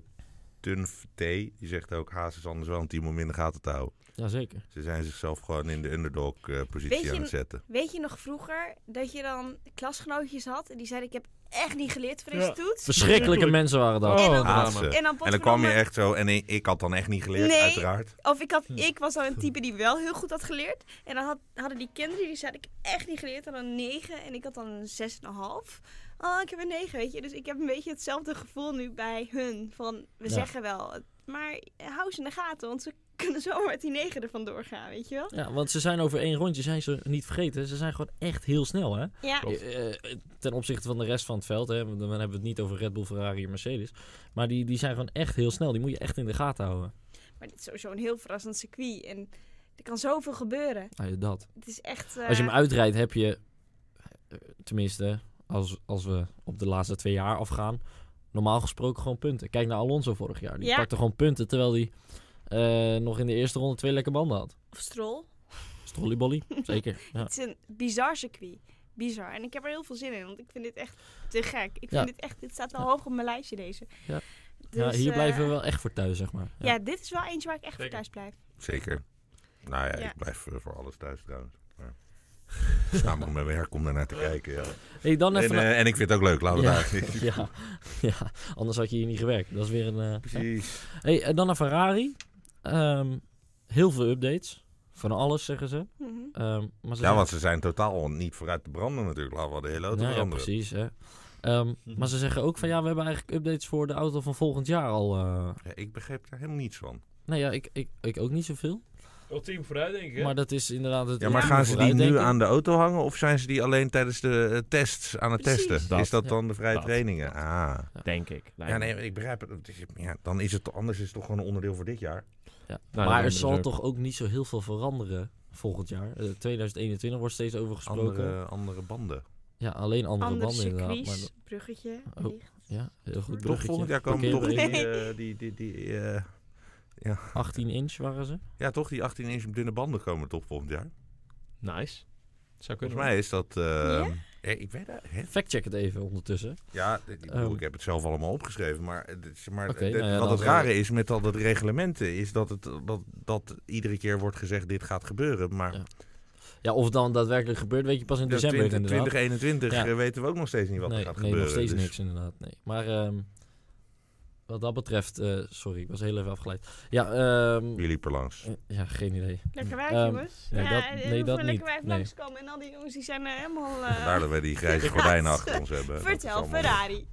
B: Tunf T. Die zegt ook, Haas is anders wel een team om in de gaten te houden.
C: weekend. Jazeker.
B: Ze zijn zichzelf gewoon in de underdog-positie
D: Weet je-
B: aan het zetten.
D: Weet je nog vroeger dat je dan klasgenootjes had en die zeiden ik heb echt niet geleerd voor deze
A: Ja.
D: toets?
C: Verschrikkelijke mensen waren dat.
D: En dan-
B: Haatsen.
D: En dan,
B: Ah. eh. En dan kwam je
D: potverdomme-
B: echt zo... En ik, ik had dan echt niet geleerd,
D: Eh, Nee.
B: uiteraard.
D: Of ik, had,
C: Hm.
D: ik was dan een type die wel heel goed had geleerd. En dan had, hadden die kinderen, die zeiden ik heb echt niet geleerd, dan een 9 en ik had dan een 6,5. Oh, ik heb een 9, weet je. Dus ik heb een beetje hetzelfde gevoel nu bij hun. Van, we
C: Ja.
D: zeggen wel, maar hou ze in de gaten, want ze kunnen zomaar met die 9 ervan doorgaan, weet je wel.
C: Ja, want ze zijn over één rondje, zijn ze niet vergeten. Ze zijn gewoon echt heel snel, hè?
D: Ja,
A: Klopt.
C: Eh, eh, ten opzichte van de rest van het veld, hè? want Dan hebben we het niet over Red Bull, Ferrari en Mercedes. Maar die, die zijn gewoon echt heel snel. Die moet je echt in de gaten houden.
D: maar dit is sowieso een heel verrassend circuit en er kan zoveel gebeuren.
C: Nou, ja, dat.
D: Het is echt... eh,
C: Als je hem uitrijdt, heb je... eh, Tenminste, als, als we op de laatste twee jaar afgaan... Normaal gesproken gewoon punten. Kijk naar Alonso vorig jaar. Die
D: Ja.
C: pakte gewoon punten, terwijl hij eh, nog in de eerste ronde twee lekke banden had.
D: Of strol.
C: Strollybolly, zeker. Ja.
D: Het is een bizar circuit. Bizar. En ik heb er heel veel zin in, want ik vind dit echt te gek. Ik vind
C: Ja.
D: dit echt, dit staat al hoog op mijn lijstje deze.
C: Ja.
D: Dus,
C: ja, hier
D: eh,
C: blijven we wel echt voor thuis, zeg maar.
D: Ja. dit is wel eentje waar ik echt voor
A: Zeker.
D: thuis blijf.
B: Zeker. Nou ja,
D: Ja.
B: ik blijf eh, voor alles thuis trouwens. Maar... Samen met mijn werk om daarnaar te kijken, ja.
C: Hey, dan
B: En,
C: even naar-
B: eh, en ik vind het ook leuk, laten we
C: Ja.
B: daar.
C: ja, ja, anders had je hier niet gewerkt. Dat is weer een... eh,
B: Precies.
C: Hey, en dan naar Ferrari. Ehm, heel veel updates. Van alles, zeggen ze.
D: Mhm.
C: Ehm, maar ze
B: Ja,
C: zijn-
B: want ze zijn totaal niet vooruit te branden natuurlijk. Laten we de hele auto
C: Nou ja,
B: veranderen.
C: precies. Hè. Ehm, Maar ze zeggen ook van... Ja, we hebben eigenlijk updates voor de auto van volgend jaar al. eh.
B: Ja, ik begreep daar helemaal niets van.
C: Nee, ja, ik, ik, ik ook niet zoveel.
A: Ultiem vooruit, denk ik. hè?
C: Maar dat is inderdaad... Het
B: Ja, maar
C: ultieme
B: gaan ze die nu
C: nou vooruitdenken.
B: aan de auto hangen of zijn ze die alleen tijdens de eh, tests aan het
D: Precies.
B: testen?
A: Dat.
B: is dat
C: Ja.
B: dan de vrije
A: Dat.
B: trainingen?
A: Dat.
B: Ah.
A: Denk ik. Lijkt
B: Ja,
A: me.
B: nee, maar ik begrijp het. Het is- Ja, dan is het toch- anders is het toch gewoon een onderdeel voor dit jaar.
C: Ja.
A: Nou,
C: maar
A: dat
C: er
A: is
C: zal
A: ook-
C: toch ook niet zo heel veel veranderen volgend jaar. Eh, 2021 wordt steeds over gesproken.
B: Andere, andere banden.
C: Ja, alleen andere,
D: Andere
C: banden inderdaad. Maar,
D: circuits,
C: dat-
D: bruggetje.
C: Oh.
D: licht.
C: ja, heel goed.
B: Toch volgend jaar komen toch
C: Parkeerbrug.
B: die,
D: Parkeerbrug.
B: eh, die, die, die, eh,
C: 18 inch waren ze.
B: ja, toch die 18 inch dunne banden komen toch volgend jaar.
A: Nice. Zou kunnen.
B: Volgens mij is dat... eh,
D: Ja?
B: eh, ik weet het. hè?
C: Factcheck het even ondertussen.
B: Ja, ik, bedoel,
C: Ehm.
B: ik heb het zelf allemaal opgeschreven. Maar, het is- maar
C: Oké,
B: het-
C: nou ja,
B: wat
C: dan
B: het
C: zal-
B: rare is met al dat reglementen... is dat, het, dat, dat iedere keer wordt gezegd dit gaat gebeuren. Maar
C: Ja, Ja, of het dan daadwerkelijk gebeurt, weet je pas in
B: dat
C: december
B: 20
C: inderdaad.
B: 2021
C: Ja.
B: eh, weten we ook nog steeds niet wat
C: nee,
B: er gaat
C: nee,
B: gebeuren.
C: nog steeds
B: dus-
C: niks inderdaad. Nee. Maar ehm, wat dat betreft, eh, sorry, ik was heel even afgeleid. Ja, ehm,
B: Jullie per langs.
C: eh, ja geen idee.
D: Lekker wijf,
C: Ehm,
D: jongens.
C: nee,
D: ja,
C: dat-
D: eh,
C: nee,
D: hoeven we
C: dat niet.
D: lekker wijf
C: Nee.
D: langskomen. En al die jongens die zijn eh, helemaal... eh,
B: Vandaar dat wij die grijze gordijnen achter ons hebben. Dat is
D: vertel,
B: allemaal-
D: Ferrari.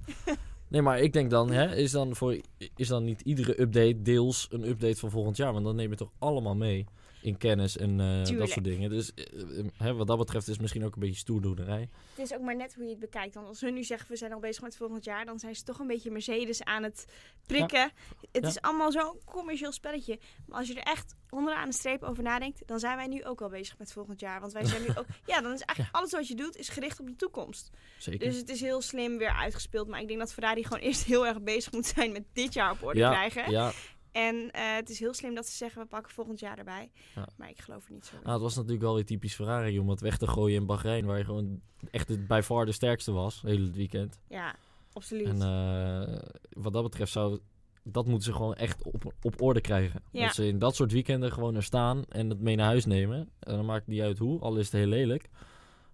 C: Nee, maar ik denk dan, hè, is, dan voor, is dan niet iedere update deels een update van volgend jaar? Want dan neem je toch allemaal mee. in kennis en eh, dat
D: Tuurlijk.
C: soort dingen. Dus eh, eh, hè, wat dat betreft is het misschien ook een beetje stoerdoenerij.
D: Het is ook maar net hoe je het bekijkt. Want als hun nu zeggen, we zijn al bezig met volgend jaar, dan zijn ze toch een beetje Mercedes aan het prikken. Het
C: Ja.
D: is allemaal zo'n commercieel spelletje. Maar als je er echt onderaan de streep over nadenkt, dan zijn wij nu ook al bezig met volgend jaar. Want wij zijn nu ook... Ja, dan is eigenlijk alles wat je doet, is gericht op de toekomst.
C: Zeker.
D: Dus het is heel slim weer uitgespeeld. Maar ik denk dat Ferrari gewoon eerst heel erg bezig moet zijn met dit jaar op orde
C: Ja,
D: krijgen.
C: ja,
D: En eh, het is heel slim dat ze zeggen, we pakken volgend jaar erbij.
C: Ja.
D: Maar ik geloof er niet zo in.
C: nou, het was natuurlijk wel weer typisch Ferrari om het weg te gooien in Bahrein, waar je gewoon echt de, bij far de sterkste was, heel het weekend.
D: Ja, absoluut.
C: En eh, wat dat betreft zou dat moeten ze gewoon echt op, op orde krijgen.
D: Ja.
C: Dat ze in dat soort weekenden gewoon er staan en het mee naar huis nemen. En dan maakt het niet uit hoe, al is het heel lelijk.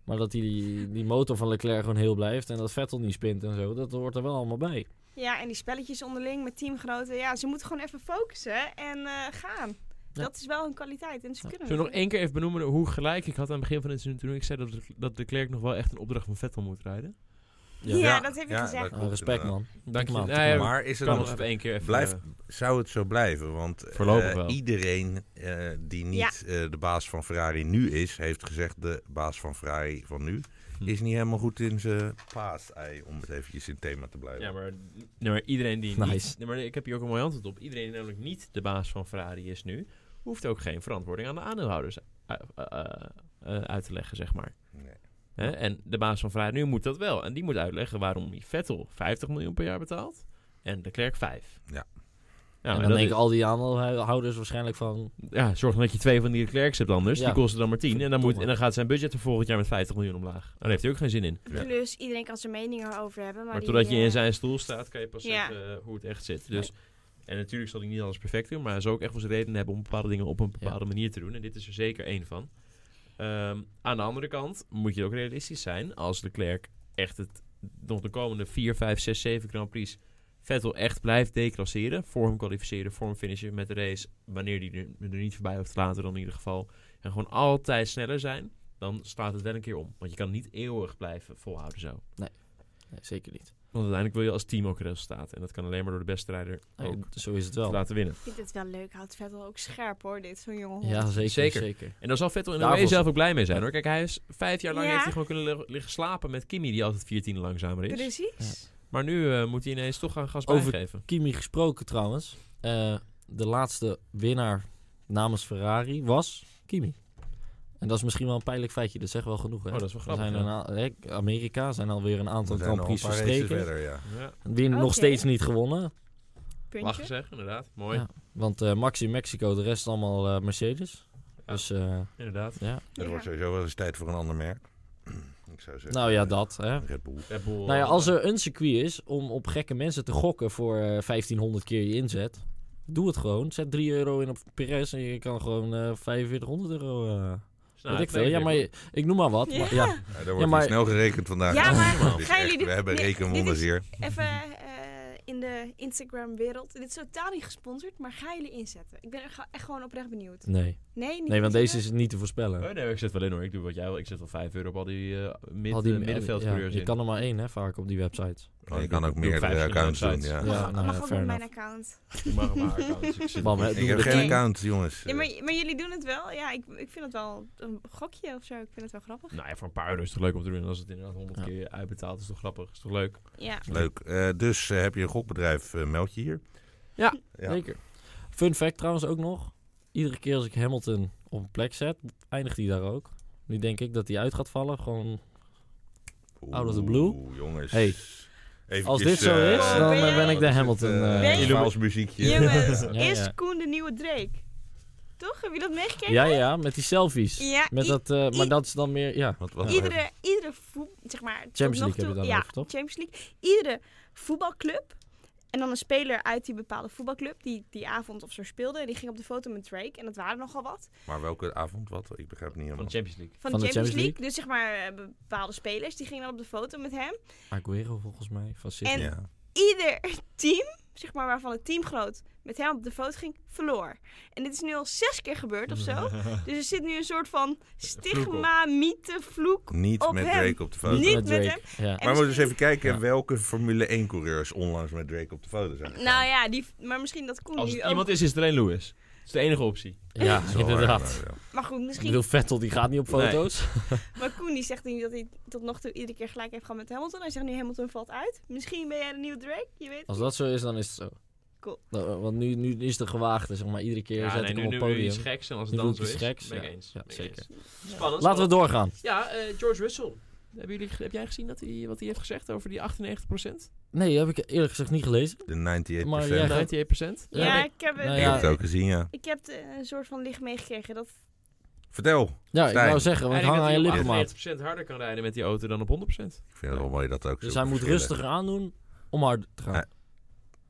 C: Maar dat die, die motor van Leclerc gewoon heel blijft en dat Vettel niet spint en zo, dat hoort er wel allemaal bij.
D: Ja, en die spelletjes onderling met teamgenoten. Ja, ze moeten gewoon even focussen en eh, gaan.
C: Ja.
D: Dat is wel hun kwaliteit. En ze
C: Ja.
A: Zullen
D: kunnen
A: we nog
D: het.
A: één keer even benoemen hoe gelijk ik had aan het begin van dit seizoen toen ik zei dat, dat de Klerk nog wel echt een opdracht van Vettel moet rijden?
D: Ja, dat heb ik
B: ja,
D: gezegd.
B: dat-
C: Ah, respect man.
A: Dank je.
C: man,
A: Nee,
C: tik hem aan.
B: Maar is het
A: kan
B: nog
A: nog even één keer even...
B: Blijft-
A: eh,
B: Zou het zo blijven? Want eh,
A: Voorlopig wel.
B: iedereen eh, die niet eh, de baas van Ferrari nu is, heeft gezegd de baas van Ferrari van nu
A: Hm.
B: is niet helemaal goed in zijn paasei, om het eventjes in het thema te blijven.
A: Ja, maar, nee, maar iedereen die
C: Nice.
A: niet... Nee, maar ik heb hier ook een mooi antwoord op. Iedereen die namelijk niet de baas van Ferrari is nu... hoeft ook geen verantwoording aan de aandeelhouders eh, eh, eh, eh, uit te leggen, zeg maar.
B: Nee.
A: Hè? En de baas van Ferrari nu moet dat wel. En die moet uitleggen waarom die Vettel 50 miljoen per jaar betaalt... en de Klerk 5.
B: Ja.
A: Nou,
C: en
A: en
C: dan
A: dat
C: denken al die aandeelhouders waarschijnlijk van...
A: ja, zorg dan dat je twee van die Klerks hebt anders.
C: Ja.
A: Die kosten dan maar 10. En dan, moet,
C: Verdomme.
A: en dan gaat zijn budget er volgend jaar met 50 miljoen omlaag. Daar heeft hij ook geen zin in.
B: Ja.
D: Plus, iedereen kan zijn mening erover hebben. Maar,
A: Maar
D: die,
A: totdat je
D: eh,
A: in zijn stoel staat, kan je pas
D: Ja.
A: zeggen eh, hoe het echt zit. Dus, En natuurlijk zal hij niet alles perfect doen, maar hij zal ook echt wel zijn redenen hebben om bepaalde dingen op een bepaalde manier te doen. En dit is er zeker één van. Ehm, aan de andere kant moet je ook realistisch zijn als de Klerk echt het, nog de komende 4, 5, 6, 7 Grand Prix Vettel echt blijft declasseren. Voor hem kwalificeren, voor hem finishen met de race. Wanneer hij er, er niet voorbij hoeft te laten dan in ieder geval. En gewoon altijd sneller zijn. Dan slaat het wel een keer om. Want je kan niet eeuwig blijven volhouden zo.
C: Nee, zeker niet.
A: Want uiteindelijk wil je als team ook resultaat. En dat kan alleen maar door de beste rijder
C: Nee,
A: ook
C: zo Oh, is het
A: te
C: wel.
A: laten winnen.
D: Ik vind het wel leuk. Houdt Vettel ook scherp hoor, dit. Zo'n jongen.
C: Ja, zeker.
A: Zeker.
C: zeker.
A: En daar zal Vettel in de
C: Daarvoor
A: way
C: is-
A: zelf ook blij mee zijn hoor. Kijk, hij is vijf jaar lang
D: Ja.
A: heeft hij gewoon kunnen lig- liggen slapen met Kimi, die altijd 14 langzamer is.
D: Precies.
A: Maar nu eh, moet hij ineens toch gaan gas
C: Over-
A: bijgeven.
C: Kimi gesproken trouwens. Eh, de laatste winnaar namens Ferrari was Kimi. En dat is misschien wel een pijnlijk feitje. Dat zegt wel genoeg. Hè?
A: Oh, dat is wel
C: Er
A: grappig.
C: zijn
A: ja.
C: een a- hè, Amerika zijn alweer een aantal
B: We zijn
C: Grand
B: al een
C: Prix
B: paar races
C: verstreken.
B: verder, ja.
A: Ja,
C: Win nog
D: Oké.
C: steeds niet gewonnen.
A: mag
D: Puntje.
A: gezegd, inderdaad. Mooi,
C: Ja. Want eh Max in Mexico, de rest is allemaal eh, Mercedes. Dus eh,
A: inderdaad.
C: ja.
B: Het
D: Ja.
B: wordt sowieso wel eens tijd voor een ander merk. Ik zou zeggen,
C: Nou ja, dat. Hè.
B: Red Bull.
A: Red Bull,
C: Nou ja,
A: eh,
C: als er een circuit is om op gekke mensen te gokken voor eh, 1500 keer je inzet, doe het gewoon. Zet 3 euro in op Perez en je kan gewoon eh 4500 euro. eh,
A: nou,
C: weet ik
A: het
C: veel. Ja, maar je- ik noem maar wat.
D: Ja.
C: Maar, ja.
B: Ja, daar wordt
C: maar-
B: hier snel gerekend vandaag.
D: Ja, maar
B: Dit is
D: gaan
B: echt-
D: jullie-
B: We hebben
D: nee,
B: rekenwonders
D: dit
B: hier.
D: Even eh, in de Instagram-wereld. Dit is totaal niet gesponsord, maar ga jullie inzetten. Ik ben er ge- echt gewoon oprecht benieuwd.
C: Nee.
D: Nee, niet
C: nee, want deze
D: inzetten?
C: is niet te voorspellen.
A: Oh, nee, ik zet wel in hoor. Ik doe wat jij wil. Ik zet wel 5 euro op al die, eh, mid,
C: Al
A: die
C: die
A: middenveldcoureurs
C: ja, Je
A: in.
C: kan er maar één, hè, vaak op die websites.
B: Maar Oh, je kan ook
A: doe ik
B: meerdere
A: vijf
B: accounts doen,
A: websites.
B: ja.
C: Ja.
D: mag,
C: nou
D: mag ook
C: fair
D: op mijn
C: enough.
D: account.
A: Ik mag maar accounts. Ik zit-
C: Bam, hè,
B: Ik
C: doen
B: heb
C: we
D: dit
B: geen
D: niet.
B: account, jongens.
D: Ja, maar, maar jullie doen het wel. Ja, ik, ik vind het wel een gokje of zo. Ik vind het wel grappig.
A: Nou ja, voor een paar euro is het toch leuk om te doen. En als het inderdaad 100
C: Ja.
A: keer uitbetaald is toch grappig. Is toch leuk.
D: Ja.
B: Leuk. Eh, dus eh, heb je een gokbedrijf, eh, meld je hier.
A: Ja.
C: Zeker. Fun fact trouwens ook nog. Iedere keer als ik Hamilton op een plek zet, eindigt hij daar ook. Nu denk ik dat hij uit gaat vallen. Gewoon, Out of the blue.
B: Oeh, jongens.
C: Hey.
B: Eventjes,
C: als dit zo
B: eh,
C: is, dan
D: ben
C: eh, ben
D: jij-
C: ik de Hamilton. eh,
D: Ben je-
B: Spaans muziekje.
D: Jongens,
C: Ja,
D: is
C: ja.
D: Koen de nieuwe Drake? Toch? Heb je dat meegekregen?
C: Ja, ja, met die selfies.
D: Ja,
C: met
D: i-
C: dat, eh, maar
D: i-
C: dat is dan meer, ja.
B: Wat eh, was het?
D: Iedere, iedere voet, zeg maar, tot
C: Champions League
D: nog toe-
C: hebben we dan
D: ja,
C: over, toch?
D: Champions League. Iedere voetbalclub en dan een speler uit die bepaalde voetbalclub die die avond of zo speelde, en die ging op de foto met Drake en dat waren nogal wat
B: Maar welke avond? Wat? Ik begrijp het niet
A: Van
B: helemaal.
A: de Champions League.
D: van, de Champions League. Dus zeg maar eh, bepaalde spelers die gingen dan op de foto met hem.
C: Aguero volgens mij, van City.
D: En-
B: Ja.
D: Ieder team, zeg maar, waarvan het teamgenoot met hem op de foto ging, verloor. En dit is nu al zes keer gebeurd of zo. Dus er zit nu een soort van stigma, mythe, vloek.
B: Niet
D: Op
B: met
D: hem.
B: Drake op de foto.
D: Niet met
C: hem. Ja.
D: En
B: Maar we moeten dus eens
D: misschien-
B: even kijken
C: Ja.
B: welke Formule 1-coureurs onlangs met Drake op de foto zijn. gegaan.
D: Nou ja, Nou die, maar misschien dat Koen
A: Als
D: nu
A: het
D: ook
A: iemand is, is het alleen Lewis. is de enige optie.
C: Ja,
B: Dat is wel waar,
C: inderdaad.
B: maar, nou ja.
D: Maar goed,
C: Ik
D: misschien.
C: bedoel, Vettel die gaat niet op
A: Nee.
C: foto's.
D: Maar Koen die zegt nu dat hij tot nog toe iedere keer gelijk heeft gehad met Hamilton. Hij zegt nu Hamilton valt uit. Misschien ben jij de nieuwe Drake, je weet.
C: Als dat zo is, dan is het zo.
D: Cool.
C: Nou, want nu, nu is de gewaagde, zeg maar. Iedere keer zet ik hem
A: nu,
C: op het
A: nu
C: podium.
A: iets geks en als
C: Nu
A: het dan
C: doe ik
A: zo
C: iets
A: is,
C: geks,
A: ben ik
C: ja.
A: eens.
C: Ja,
A: Ben ik eens.
C: zeker.
A: Spannend.
C: Laten we doorgaan.
A: Ja, eh, George Russell. Hebben jullie, heb jij gezien dat hij, wat hij heeft gezegd over die 98
C: Nee, heb ik eerlijk gezegd niet gelezen.
B: De 98
C: Maar jij
A: Ja,
C: Ja,
A: 98
D: Ja,
C: Ja,
D: ik heb,
C: nou
B: Ik
D: ik,
C: ja.
B: heb het ook gezien, ja.
D: ik heb de- een soort van licht meegekregen. Dat,
B: Vertel.
C: Ja, ik
B: Stijn.
C: wou zeggen, want ik hang
A: Eigenlijk
C: aan je
A: dat
C: lippen,
A: hij
C: maat.
A: op 98% harder kan rijden met die auto dan op 100%.
B: Ik vind het wel mooi dat er ook
C: Dus
B: zulke
C: hij moet
B: verschillen-
C: rustiger aandoen om hard te gaan.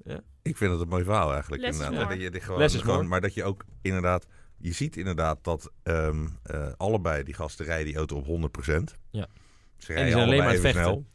B: Ja. Ik vind het een mooi verhaal eigenlijk.
D: Less is
B: inderdaad.
D: more.
B: Maar dat je dit gewoon,
A: Less is
B: gewoon-
A: more.
B: maar dat je ook inderdaad... Je ziet inderdaad dat ehm, eh, allebei die gasten rijden die auto op 100%.
C: Ja.
B: Ze
A: En die
B: rijden
A: zijn alleen
B: allebei
A: maar aan het
B: even
A: vechten.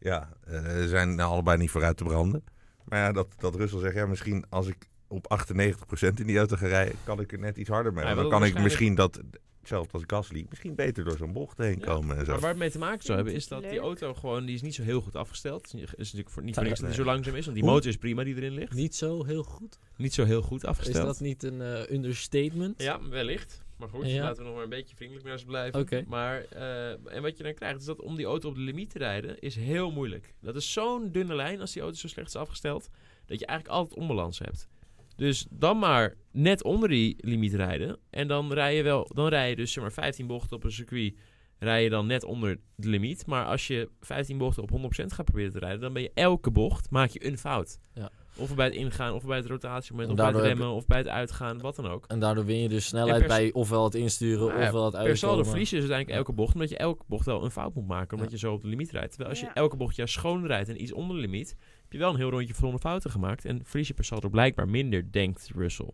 B: snel. Ja, eh, ze zijn nou allebei niet vooruit te branden. Maar ja, dat, dat Russell zegt, ja, misschien als ik op 98% in die auto ga rijden... kan ik er net iets harder mee.
A: Hij
B: dan
A: wil
B: kan ik
A: waarschijnlijk-
B: misschien dat, hetzelfde als Gasly... misschien beter door zo'n bocht heen
A: Ja.
B: komen en zo.
A: Maar waar het mee te maken zou hebben is dat die
D: Leuk.
A: auto gewoon, die is niet zo heel goed afgesteld. Het Is niet- is natuurlijk voor, niet voor
C: Nee.
A: niks dat die zo langzaam is, want die
B: Hoe-
A: motor is prima die erin ligt.
C: Niet zo heel goed.
A: Niet zo heel goed
C: Is
A: afgesteld.
C: dat niet een eh, understatement?
A: Ja, wellicht. Maar goed,
C: Ja.
A: laten we nog maar een beetje vriendelijk naar ze blijven.
C: Oké.
A: Maar, eh, en wat je dan krijgt is dat om die auto op de limiet te rijden is heel moeilijk. Dat is zo'n dunne lijn als die auto zo slecht is afgesteld, dat je eigenlijk altijd onbalans hebt. Dus dan maar net onder die limiet rijden. En dan rij je wel, dan rij je dus zeg maar 15 bochten op een circuit, rij je dan net onder de limiet. Maar als je 15 bochten op 100% gaat proberen te rijden, dan ben je elke bocht, maak je een fout.
C: Ja.
A: Of bij het ingaan, of bij het rotatiemoment,
C: En
A: of bij het
C: daardoor heb je-
A: remmen, of bij het uitgaan, wat dan ook.
C: En daardoor win je dus
A: En
C: snelheid
A: per-
C: bij ofwel het insturen,
A: Nou ja,
C: ofwel het
A: Per saldo
C: uitkomen.
A: verlies je dus uiteindelijk elke bocht, omdat je elke bocht wel een fout moet maken, omdat
C: Ja.
A: je zo op de limiet rijdt. Terwijl als je
D: Ja.
A: elke bocht juist schoon rijdt en iets onder de limiet, heb je wel een heel rondje zonder fouten gemaakt en verlies je per saldo blijkbaar minder, denkt Russell.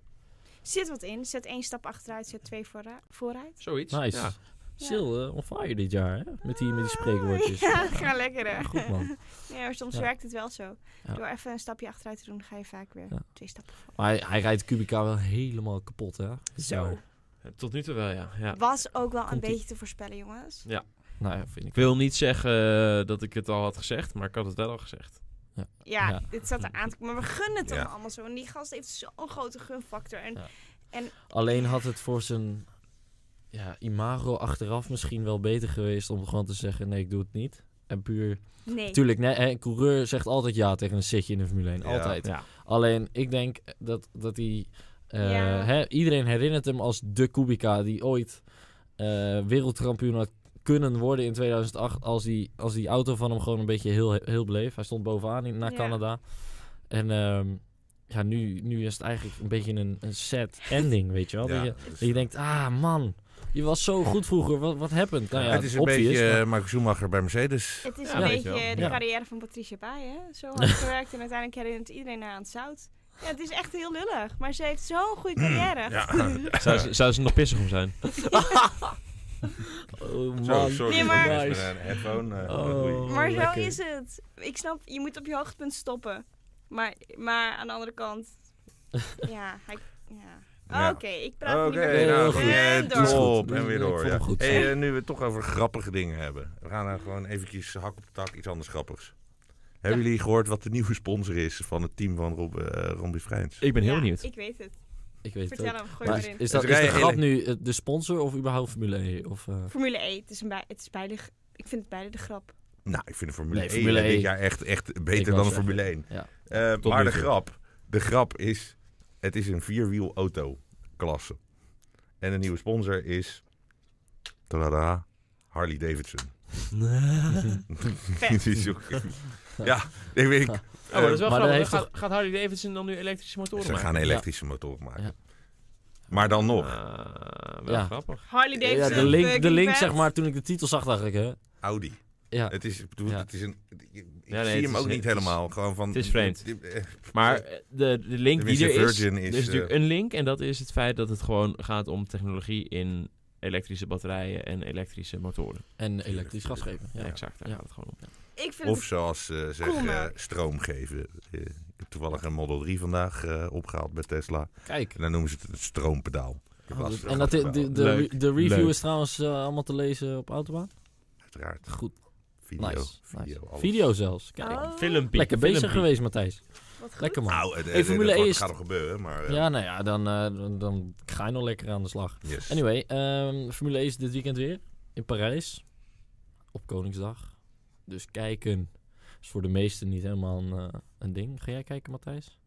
D: zit wat in. Zet één stap achteruit, zet twee voorra- vooruit.
A: Zoiets.
C: Nice.
A: Ja.
C: Sil, eh, on fire dit jaar, hè? Met die, met die spreekwoordjes.
D: Ah, Ja, ga lekker hè.
C: Goed, man.
D: Ja, maar soms
C: Ja.
D: werkt het wel zo.
C: Ja.
D: Door even een stapje achteruit te doen, ga je vaak weer
C: Ja.
D: twee stappen vooruit.
C: Maar hij, hij rijdt Kubica wel helemaal kapot, hè?
D: Zo.
C: Nou,
A: Tot nu toe wel, ja. ja.
D: Was ook wel een
C: Komt-ie.
D: beetje te voorspellen, jongens.
C: Nou ja, vind ik.
A: Ik wil niet zeggen eh, dat ik het al had gezegd, maar ik had het wel al gezegd.
D: Ja,
C: Ja.
D: dit zat er aan te komen. Maar we gunnen het
B: Ja.
D: dan allemaal zo. En die gast heeft zo'n grote gunfactor. En
C: Ja. Alleen had het voor zijn ja, imago achteraf misschien wel beter geweest om gewoon te zeggen: nee, ik doe het niet. En puur.
D: nee,
C: Tuurlijk, nee, hè, een coureur zegt altijd ja tegen een zitje in de Formule 1.
B: Ja.
C: Altijd.
A: Ja.
C: Alleen, ik denk dat, dat hij. eh,
D: Ja.
C: hè, iedereen herinnert hem als de Kubica die ooit eh, wereldkampioen had kunnen worden in 2008. Als die, als die auto van hem gewoon een beetje heel, heel bleef. Hij stond bovenaan in, naar
D: Ja.
C: Canada. En ehm, ja, nu, nu is het eigenlijk een beetje een, een sad ending, weet je wel. Dat,
B: Ja,
C: je,
B: dus-
C: dat je denkt, ah man, je was zo goed vroeger. Wat, wat happened? Nou ja,
B: het is een
C: obvious,
B: beetje
C: maar-
B: eh, Michael Schumacher bij Mercedes.
D: het is
A: Ja,
D: een
A: weet je
D: beetje
A: wel.
D: de
C: Ja.
D: carrière van Patricia Bij, hè? Zo hard gewerkt en uiteindelijk herinnert iedereen haar aan het zout. Ja, het is echt heel lullig. Maar ze heeft zo'n goede
C: Mm.
D: carrière.
A: Zou, ze, zou ze nog pissig om zijn?
C: Oh, man.
B: eh, Zo, sorry.
D: Nee, maar-
B: mensen
C: Nice.
B: Met een headphone. eh,
C: Oh.
B: oei.
D: Maar zo
C: lekker.
D: is het. Ik snap, je moet op je hoogtepunt stoppen. Maar, maar aan de andere kant... ja, hij... Ja. Ah,
B: Ja.
D: Oké, ik
B: Oké,
D: praat niet meer.
C: Heel
B: nou
C: goed.
B: goed. eh,
D: En door.
C: Is goed.
B: top. En weer
C: Ik
B: door.
C: vond hem
B: Ja.
C: goed.
B: Hey, eh, nu we het toch over grappige dingen hebben. We gaan nou gewoon eventjes hak op de tak, iets anders grappigs. Hebben jullie gehoord wat de nieuwe sponsor is van het team van Rob, eh Ron Vrijns?
A: Ik ben heel
D: Ja,
A: benieuwd.
D: Ik weet het.
C: Ik weet het ook.
D: Vertel hem, gooi
C: Maar
D: maar
C: is,
D: in.
C: is dat,
B: Dus
C: is de
B: rij-
C: grap nu eh, de sponsor of überhaupt Formule E? Of, eh,
D: Formule E, het is, een bij, het is beide... g- Ik vind het beide de grap.
B: Nou, ik vind de Formule
C: Nee,
B: 1
C: Formule
B: dit
C: 1.
B: jaar echt, echt
C: Ik
B: beter
C: wou
B: dan de
C: zeggen.
B: Formule 1.
C: Ja.
B: Eh,
A: Tot
B: maar
A: nu
B: de
A: toe.
B: grap, de grap is, het is een vierwiel auto klasse. En de nieuwe sponsor is, tada, Harley Davidson.
D: Vet.
B: Die zoek ik. ja, ik weet. ik-
A: Oh, maar dat is wel
C: Maar dan
A: grappig.
C: heeft
A: gaat, gaat Harley Davidson dan nu elektrische motoren
B: Ze
A: maken?
B: gaan elektrische motoren maken.
C: Ja.
B: Maar dan nog,
A: Ah, wel
C: Ja.
A: grappig.
D: Harley
C: ja,
D: Davidson.
C: de link, de
D: fucking
C: link
D: vet.
C: zeg maar, toen ik de titel zag, dacht ik, hè?
B: Audi.
C: Ja,
B: Het is, ik bedoel,
C: Ja.
B: het is een. Ik
A: nee, het
B: zie hem
A: is-
B: ook
A: het
B: niet
A: is-
B: helemaal. Gewoon van.
A: het is vreemd.
B: Eh,
A: Maar eh, de, de link die
B: Tenminste,
A: er is,
B: Virgin
A: er
B: is,
A: is natuurlijk
B: eh,
A: een link. En dat is het feit dat het gewoon gaat om technologie in elektrische batterijen en elektrische motoren.
C: en elektrisch gasgeven.
A: Ja,
C: Ja.
A: exact. Daar
C: Ja.
A: gaat het gewoon om.
D: Ik vind
B: Of zoals ze zeggen,
D: maar.
B: stroom geven. Eh, ik heb toevallig een Model 3 vandaag eh, opgehaald bij Tesla.
C: Kijk.
B: En dan noemen ze het het stroompedaal. Ik heb
C: Oh,
B: last
C: dat-
B: van
C: en
B: het
C: dat, de,
B: pedaal,
C: de, de,
A: Leuk.
C: de review
A: Leuk.
C: is trouwens eh, allemaal te lezen op Autobaan.
B: Uiteraard.
C: Goed.
B: Video.
C: nice.
B: Video,
C: nice.
B: alles.
C: video zelfs. Kijk.
D: Oh,
A: Filmpje.
C: Lekker bezig
A: filmpje.
C: geweest, Matthijs.
D: wat goed.
C: Lekker man.
B: Nou, het, het,
C: Hey, Formule
B: het wordt-
C: E is-
B: gaat nog gebeuren, maar... eh,
C: ja, nou ja, dan, eh, dan- dan ga je nog lekker aan de slag.
B: yes.
C: Anyway, ehm, Formule 1 is dit weekend weer in Parijs. Op Koningsdag. Dus kijken is voor de meesten niet helemaal een, eh, een ding. Ga jij kijken, Matthijs?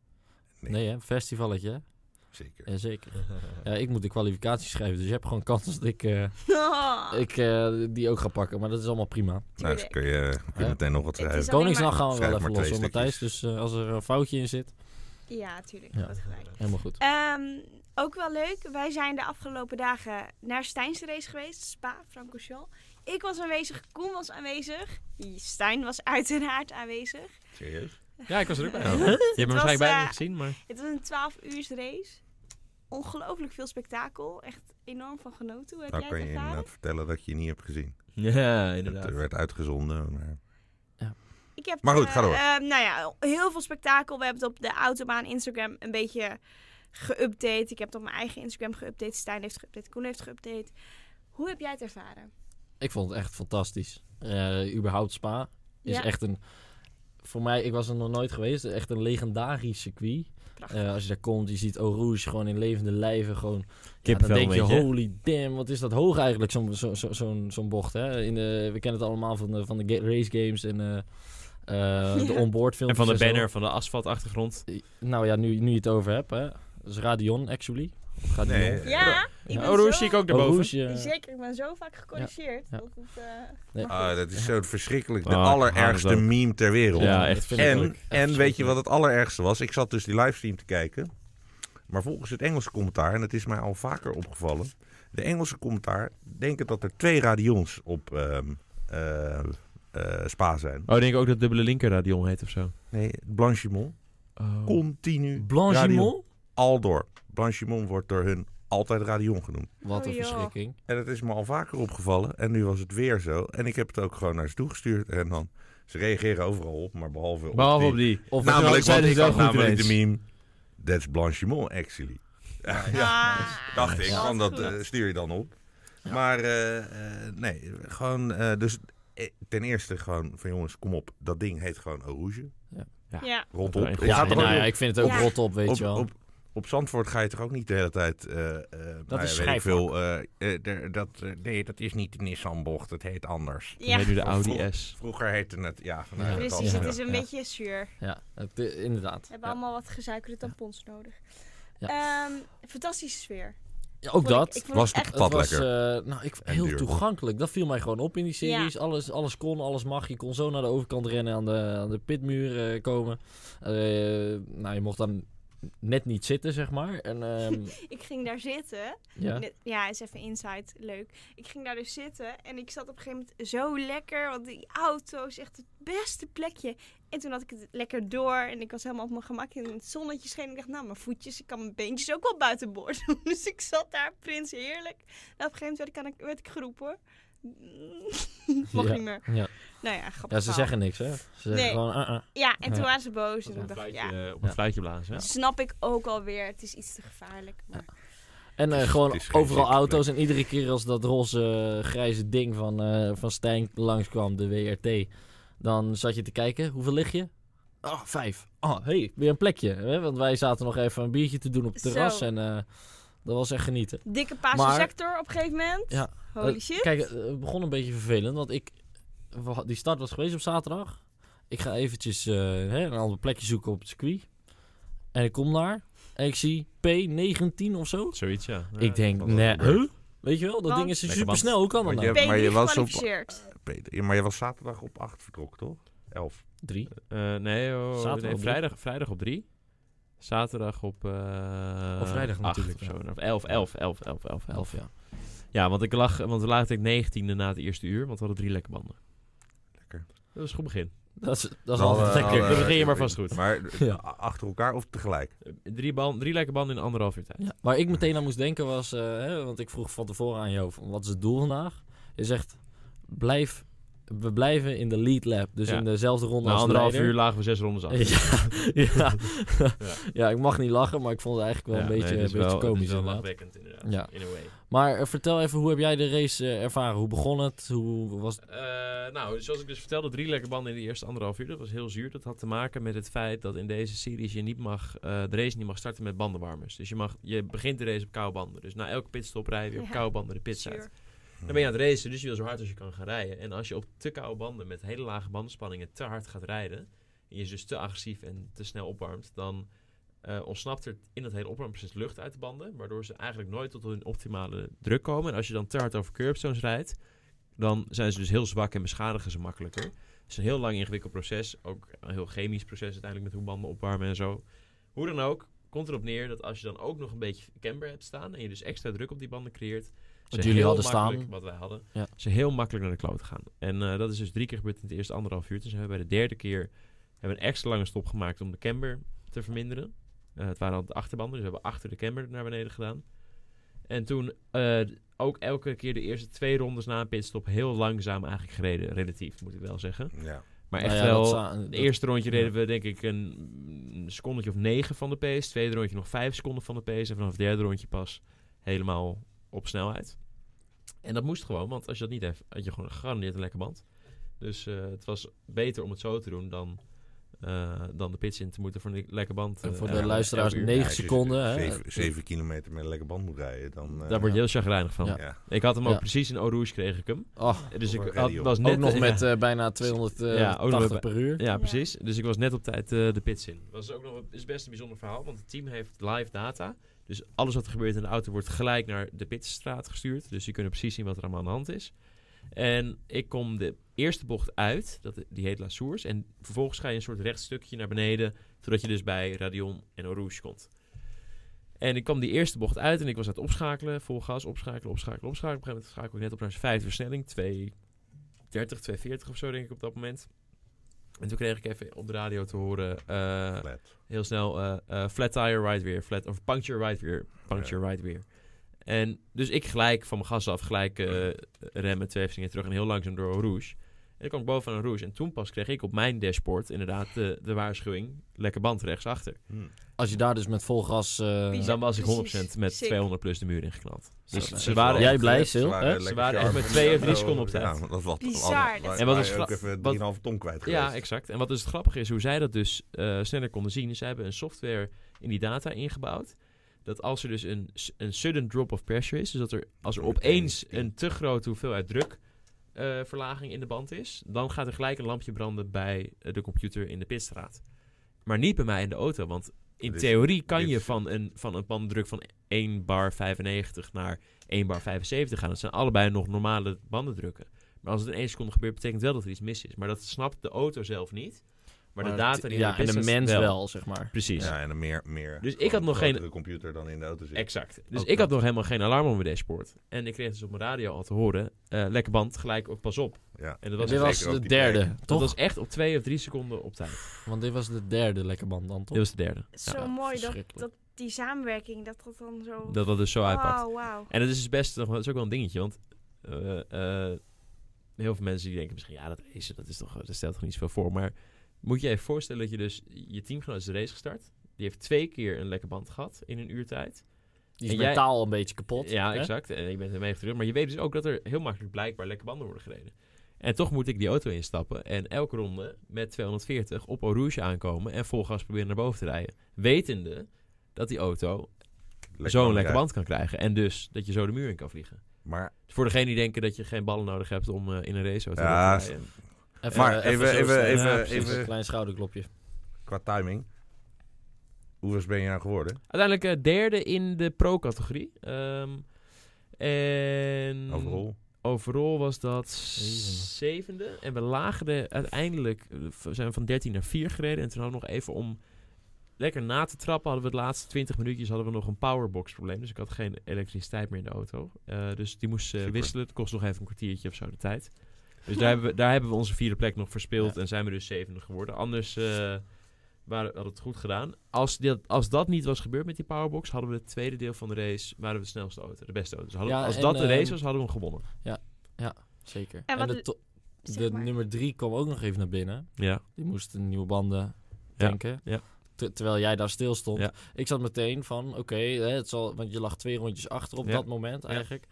B: Nee.
C: hè? Festivalletje, hè?
B: Zeker.
C: Jazeker. Ja, ik moet de kwalificatie schrijven, dus je hebt gewoon kans dat ik, eh,
B: Ah.
D: Oh,
C: ik eh, die ook ga pakken. Maar dat is allemaal prima.
B: Nou, dus kun je, kun je
C: Ja.
B: meteen nog wat
D: Het is
B: schrijven.
D: alleen
C: Koningsdag
D: maar-
C: gaan we
B: Schrijf
C: wel
B: maar
C: even
B: twee
C: los, hoor, Matthijs.
B: stukjes.
C: Dus eh, als er een foutje in zit,
D: Ja, tuurlijk.
C: Ja.
D: Dat gelijk.
C: helemaal goed.
D: Ehm, ook wel leuk. Wij zijn de afgelopen dagen naar Stijn's race geweest. Spa, Francorchamps. Ik was aanwezig, Koen was aanwezig. Stijn was uiteraard aanwezig.
B: Serieus?
A: Ja, ik was er ook bij.
D: Huh?
A: Je hebt me
D: was,
A: waarschijnlijk bijna
D: eh,
A: niet gezien, maar...
D: Het was een 12 uur race. Ongelooflijk veel spektakel. Echt enorm van genoten. Hoe heb
B: Nou
D: jij
B: kan je
D: het ervaren?
B: inderdaad vertellen dat je je niet hebt gezien.
A: Ja,
B: Het werd uitgezonden, maar...
D: Ik heb,
B: Maar goed,
D: eh,
B: ga door.
D: eh, nou ja, heel veel spektakel. We hebben het op de autobaan Instagram een beetje geüpdate. Ik heb het op mijn eigen Instagram geüpdate. Stijn heeft geüpdate, Koen heeft geüpdate. Hoe heb jij het ervaren?
C: Ik vond het echt fantastisch. Eh überhaupt Spa is
D: Ja.
C: echt een... Voor mij, ik was er nog nooit geweest, echt een legendarisch circuit.
D: Prachtig.
C: Eh, als je daar komt, je ziet Eau Rouge gewoon in levende lijven. Gewoon, ja, dan
A: Kippenvel
C: denk je,
A: een beetje.
C: holy damn, wat is dat hoog eigenlijk, zo'n zo, zo, zo'n zo'n bocht. Hè? In de, we kennen het allemaal van de, van de ga- race games en eh, eh, de
D: Ja.
C: onboard films.
A: En van de banner, van de asfaltachtergrond.
C: Nou ja, nu, nu je het over hebt, hè. Dat is Radion, actually. Of Radion.
B: Nee, eh,
D: Ja, ik ben
A: Oh,
D: zo...
A: daar zie ik ook
C: Eau
A: daarboven.
C: Rouge, eh,
D: Zeker, ik ben zo vaak gecorrigeerd.
C: Ja.
D: Dat het, eh,
C: Nee.
D: maar
B: Ah,
D: goed.
B: dat is zo verschrikkelijk. De
A: Ah,
B: allerergste
A: haat het ook.
B: meme ter wereld.
A: Ja,
C: dat
A: echt.
C: vind ik ook.
B: En,
C: Echt
B: en weet je
C: verschrikkelijk.
B: wat het allerergste was? Ik zat dus die livestream te kijken. Maar volgens het Engelse commentaar, en het is mij al vaker opgevallen. De Engelse commentaar denken dat er twee radions op ehm, eh, eh, Spa zijn.
A: Oh, ik denk ook dat dubbele linker radion heet of zo.
B: Nee, Blanchimon.
A: Oh.
B: Continu. radion.
C: Blanchimont?
B: Al door. Blanchimon wordt door hun altijd radion genoemd.
C: Wat een
D: Oh, joh.
C: verschrikking.
B: En het is me al vaker opgevallen. En nu was het weer zo. En ik heb het ook gewoon naar ze toegestuurd. En dan, ze reageren overal op, maar behalve op
A: Behalve
B: die.
A: op die.
C: Of
A: Nou,
B: namelijk,
A: zijn
B: want
A: ze wel
B: ik had
A: goed
B: namelijk de
A: ineens.
B: meme. That's Blanchimont, actually. Ja,
D: Ah,
B: dacht ik.
D: ja.
B: Van dat
D: Goed.
B: eh, stuur je dan op. Maar eh, eh, nee, gewoon... eh, dus eh, ten eerste gewoon van jongens, kom op. Dat ding heet gewoon Eau Rouge.
A: Ja.
D: Ja.
B: Rond
A: Ja,
B: op.
A: en
B: Het
A: goed.
C: Ja,
B: gaat er
C: nou
B: ook
C: ja,
B: op-
C: ik vind het ook
D: Ja.
C: rot op, weet
B: op,
C: je wel.
B: op, op Zandvoort ga je toch ook niet de hele tijd... eh, eh, nou ja,
C: is
B: weet ik
C: schrijfvak.
B: veel, eh, eh, der- dat, eh, Nee, dat is niet de Nissan-bocht. Het heet anders.
A: Die heet
D: Ja,
A: nu de Audi S.
B: Vroeger heette het... Ja, nou ja, dat
D: precies. Het
B: ja.
D: is een
C: Ja.
D: beetje zuur.
C: Ja, het- eh, inderdaad.
D: We hebben
C: Ja.
D: allemaal wat gesuikerde tampons nodig.
C: Ja.
D: Ehm, fantastische sfeer.
C: Ja, ook
D: Vond ik-
C: dat.
D: ik vond
B: Was
D: het
B: het
D: echt
B: pad
C: was
B: lekker?
C: eh, nou, ik,
B: En
C: heel
B: duur.
C: toegankelijk. Dat viel mij gewoon op in die
D: Ja.
C: series. Alles, alles kon, alles mag. Je kon zo naar de overkant rennen aan de, aan de pitmuur eh, komen. Eh, nou, je mocht dan net niet zitten, zeg maar. En, ehm,
D: Ik ging daar zitten.
C: ja.
D: Net- Ja, is even insight. Leuk. Ik ging daar dus zitten en ik zat op een gegeven moment zo lekker. Want die auto is echt het beste plekje. En toen had ik het lekker door en ik was helemaal op mijn gemak. En het zonnetje scheen. Ik dacht, nou, mijn voetjes, ik kan mijn beentjes ook wel buitenboord doen. Dus ik zat daar, prins, heerlijk. En op een gegeven moment werd ik, aan de- werd ik geroepen hoor. Mag
C: Ja.
D: niet meer.
C: Ja.
D: Nou ja, grappig.
C: ja, ze
D: verhaal.
C: zeggen niks, hè. Ze zeggen
D: Nee.
C: gewoon, ah, ah.
D: Ja, en
C: Ja.
D: toen waren ze boos. En
A: Op een
D: ik dacht, ja,
A: fluitje, eh, op een
C: Ja.
A: fluitje blazen.
D: snap ik ook alweer. Het is iets te gevaarlijk. Maar...
C: En eh,
B: Het is-
C: gewoon
B: het is geen
C: overal
B: zieke
C: auto's. En iedere keer als dat roze eh, grijze ding van, eh, van Stijn langskwam, de WRT, dan zat je te kijken. Hoeveel lig je? Oh, vijf. Oh, hey, weer een plekje. Hè? Want wij zaten nog even een biertje te doen op het
D: Zo.
C: terras. En eh, dat was echt genieten.
D: Dikke paarse
C: Maar-
D: sector op een gegeven moment.
C: Ja.
D: Holy
C: Eh,
D: shit.
C: Kijk, eh, het begon een beetje vervelend. Want ik, we had- die start was geweest op zaterdag. Ik ga eventjes eh, hè, een ander plekje zoeken op het circuit. En ik kom daar. En ik zie P19 of zo.
A: Zoiets, ja. Ja,
C: ik denk,
B: dat is
C: nee,
B: wel gebeurd.
C: huh? Weet je wel, dat
D: Want-
C: ding is
A: Lekker
C: super snel.
A: band.
C: Hoe kan dat
B: Want
C: nou?
B: je hebt- maar je was op
D: gekwalificeerd.
B: Peter, ja, maar je was zaterdag op 8 vertrokken, toch? 11.
C: Drie.
A: Eh, nee, oh,
C: Zaterdag
A: nee,
C: op drie.
A: vrijdag, vrijdag op drie. Zaterdag op... eh
C: Of vrijdag
A: acht
C: natuurlijk,
A: Of
C: ja.
A: zo. Of elf, elf, elf, elf, elf, elf.
C: Elf, ja.
A: Ja, want, ik lag, want we lagen ik 19e na het eerste uur, want we hadden drie lekke banden.
B: Lekker.
A: Dat is een goed begin.
C: Dat is, dat
B: Dan,
C: is altijd
B: eh,
C: lekker.
B: dan,
A: dan
B: eh,
A: begin je maar vast goed.
B: Maar eh,
C: Ja.
B: achter elkaar of tegelijk?
A: Eh, Drie, band, drie lekke banden in anderhalf uur tijd.
C: Ja. Waar ik meteen aan moest denken was, eh, hè, want ik vroeg van tevoren aan jou, van, wat is het doel vandaag? Je zegt, blijf we blijven in de lead lap. Dus
A: Ja.
C: in dezelfde ronde
A: Na
C: als de
A: anderhalf
C: leider.
A: uur lagen we zes rondes af.
C: Ja, ja.
A: Ja.
C: ja, ik mag niet lachen, maar ik vond het eigenlijk wel
A: Ja,
C: een beetje,
A: nee, het
C: een
A: is
C: beetje
A: wel- het
C: komisch
A: is wel
C: inderdaad.
A: lachwekkend inderdaad.
C: Ja.
A: In a way.
C: Maar eh, vertel even, hoe heb jij de race eh, ervaren? Hoe begon het? Hoe was het?
A: Eh, nou, zoals ik dus vertelde, drie lekke banden in de eerste anderhalf uur. Dat was heel zuur. Dat had te maken met het feit dat in deze series je niet mag, eh, de race niet mag starten met bandenwarmers. Dus je, mag, je begint de race op koude banden. Dus na elke pitstop rij je weer op
D: Ja.
A: koude banden de pits uit.
D: Zuur.
A: Dan ben je aan het racen, dus je wil zo hard als je kan gaan rijden. En als je op te koude banden met hele lage bandenspanningen te hard gaat rijden, en je dus te agressief en te snel opwarmt, dan eh, ontsnapt er in dat hele opwarmproces lucht uit de banden, waardoor ze eigenlijk nooit tot hun optimale druk komen. En als je dan te hard over curbstones rijdt, dan zijn ze dus heel zwak en beschadigen ze makkelijker. Het is een heel lang ingewikkeld proces, ook een heel chemisch proces uiteindelijk met hoe banden opwarmen en zo. Hoe dan ook, komt erop neer dat als je dan ook nog een beetje camber hebt staan en je dus extra druk op die banden creëert, ze
C: jullie
A: heel
C: hadden
A: makkelijk-
C: staan.
A: wat wij hadden,
C: Ja.
A: ze heel makkelijk naar de kloot gaan. En eh, dat is dus drie keer gebeurd in het eerste anderhalf uur. Toen zijn we bij de derde keer hebben een extra lange stop gemaakt om de camber te verminderen. Eh, het waren al de achterbanden, dus we hebben achter de camber naar beneden gedaan. En toen eh, ook elke keer de eerste twee rondes na een pitstop heel langzaam eigenlijk gereden, relatief moet ik wel zeggen.
B: Ja.
A: Maar echt
C: Nou ja, dat
A: wel,
C: za-
A: het
C: dat-
A: eerste rondje
C: ja.
A: deden we denk ik een, mm, secondetje of negen van de pace. Het tweede rondje nog vijf seconden van de pace. En vanaf het derde rondje pas helemaal op snelheid. En dat moest gewoon, want als je dat niet hebt, had je gewoon gegarandeerd een lekker band. Dus eh, het was beter om het zo te doen dan, eh, dan de pits in te moeten voor een lekker band.
C: En
A: eh,
C: voor de
A: elke-
C: luisteraars
A: elk uur.
C: Negen
B: als je
C: seconden, hè?
B: Zeven, zeven kilometer met een lekker band moet rijden, dan... eh,
A: Daar word je heel chagrijnig van.
C: Ja.
B: ja.
A: Ik had hem ook
C: Ja.
A: precies in Eau Rouge kreeg ik hem.
C: Oh,
A: Dus ik
B: Over
A: had,
B: radio.
A: was
C: ook
A: net...
C: nog
A: ja.
C: met eh, bijna 280
A: Ja, ook nog met-
C: per uur.
A: Ja,
D: Ja.
A: precies. Dus ik was net op tijd eh, de pits in. Dat is ook nog is best een bijzonder verhaal, want het team heeft live data. Dus alles wat er gebeurt in de auto wordt gelijk naar de pitstraat gestuurd. Dus die kunnen precies zien wat er allemaal aan de hand is. En ik kom de eerste bocht uit, dat, die heet La Source. En vervolgens ga je een soort rechtstukje naar beneden, zodat je dus bij Radion en Eau Rouge komt. En ik kwam die eerste bocht uit en ik was aan het opschakelen, vol gas, opschakelen, opschakelen, opschakelen. Op een gegeven moment schakel ik net op naar zijn vijfde versnelling, 230, 240 of zo denk ik op dat moment. En toen kreeg ik even op de radio te horen, eh,
B: Flat.
A: heel snel eh, eh, flat tire right weer, flat of puncture right weer, puncture right weer. En dus ik gelijk van mijn gas af, gelijk eh, remmen, twee versnellingen terug en heel langzaam door Rouge. En dan kwam ik bovenaan Rouge en toen pas kreeg ik op mijn dashboard inderdaad de, de waarschuwing, lekker band rechtsachter.
B: Hm.
C: Als je daar dus met vol gas... eh,
D: Bizar.
A: Dan was ik
D: Precies.
A: 100% met
D: Sick.
A: 200 plus de muur ingeknald. Dus
C: Zo,
A: ze
C: eh,
A: waren
C: Jij
A: echt,
C: blij,
A: eh,
C: Sil? hè?
A: Ze waren echt met twee
B: twee
A: of drie seconden op tijd.
B: Ja, dat was
D: Bizar, dat-
B: En
A: En
B: wat
A: wat
B: is
A: is
B: ook
A: gra-
B: even
A: wat-
B: 3,5 ton kwijt geweest.
A: Ja, exact. En wat dus het grappige is, hoe zij dat dus eh, sneller konden zien. Ze hebben een software in die data ingebouwd. Dat als er dus een, s- een sudden drop of pressure is, dus dat er als er opeens een te grote hoeveelheid druk eh, verlaging in de band is, dan gaat er gelijk een lampje branden bij eh, de computer in de pitstraat. Maar niet bij mij in de auto, want in
B: Dit-
A: theorie kan
B: dit-
A: je van een, van een banddruk van 1 bar 95 naar 1 bar 75 gaan. Dat zijn allebei nog normale bandendrukken. Maar als het in één seconde gebeurt, betekent wel dat er iets mis is. Maar dat snapt de auto zelf niet. Maar, de data die in
C: Ja, en de
A: business
C: mens wel, zeg maar.
A: Precies.
B: Ja, en dan meer, meer
A: Dus ik had nog geen-
B: grotere computer dan in de auto zit.
A: Exact. Dus
C: Ook
A: ik
C: dat.
A: had nog helemaal geen alarm op mijn dashboard. En ik kreeg dus op mijn radio al te horen, eh lekker band, gelijk, op, pas op.
B: Ja.
A: En dat
C: Dit
A: was,
B: En
A: echt-
C: was
B: zeker ook
C: de
B: die
C: derde,
B: plek.
A: dat
C: toch?
A: was echt op twee of drie seconden op tijd.
C: Want dit was de derde lekker band dan,
A: Dit
C: toch?
A: was de derde.
D: Zo
A: Ja,
D: mooi dat,
C: verschrikkelijk.
D: dat die samenwerking, dat dat dan zo...
A: Dat dat dus zo uitpakt.
D: Wauw, wauw.
A: En dat is dus best, dat is ook wel een dingetje, want eh, eh, heel veel mensen die denken misschien, ja, dat race, dat is toch, dat stelt toch niet zoveel voor. Maar moet je je even voorstellen dat je dus, je teamgenoot is de race gestart. Die heeft twee keer een lekke band gehad in een uur tijd.
C: Die is
A: En jij-
C: mentaal een beetje kapot.
A: ja,
C: hè?
A: exact. En ik ben ermee terug. Maar je weet dus ook dat er heel makkelijk blijkbaar lekke banden worden gereden. En toch moet ik die auto instappen en elke ronde met 240 op Eau Rouge aankomen en vol gas proberen naar boven te rijden. Wetende dat die auto zo'n lekke
B: rijden.
A: band kan krijgen. En dus dat je zo de muur in kan vliegen.
B: Maar
A: Voor degene die denken dat je geen ballen nodig hebt om eh, in een race auto
B: Ja,
A: te rijden.
C: Even,
B: Maar
C: eh,
B: even-
C: zo
B: even-
C: snel.
B: even-
C: Ja, precies,
B: even-
C: Een klein schouderklopje.
B: qua timing, hoeveel ben je nou geworden?
A: Uiteindelijk eh, derde in de pro-categorie. Ehm, en
B: Overal?
A: overall was dat
C: Zevende.
A: zevende. En we lagen er uiteindelijk, eh, v- zijn we van 13 naar 4 gereden. En toen hadden we nog even om lekker na te trappen, hadden we de laatste 20 minuutjes hadden we nog een powerbox probleem. Dus ik had geen elektriciteit meer in de auto. Eh, dus die moest eh,
B: Super.
A: wisselen. Het kost nog even een kwartiertje of zo de tijd. Dus daar, hebben we, daar hebben we onze vierde plek nog verspeeld
C: Ja.
A: en zijn we dus zevende geworden. Anders eh, waren, hadden we het goed gedaan. Als, dit, als dat niet was gebeurd met die powerbox, hadden we het tweede deel van de race, waren we de snelste auto, de beste auto. Dus hadden we-
C: Ja,
A: als
C: en,
A: dat de race
C: ehm,
A: was, hadden we hem gewonnen.
C: Zeker.
D: En wat
C: de
D: l-
C: to-
D: zeg
C: de
D: maar.
C: nummer drie kwam ook nog even naar binnen.
A: Ja.
C: Die moest een nieuwe banden tanken.
A: ja.
C: Ter- terwijl jij daar stil stond.
A: Ja.
C: Ik zat meteen van, oké, hè, het zal, want je lag twee rondjes achter op
A: Ja.
C: dat moment eigenlijk.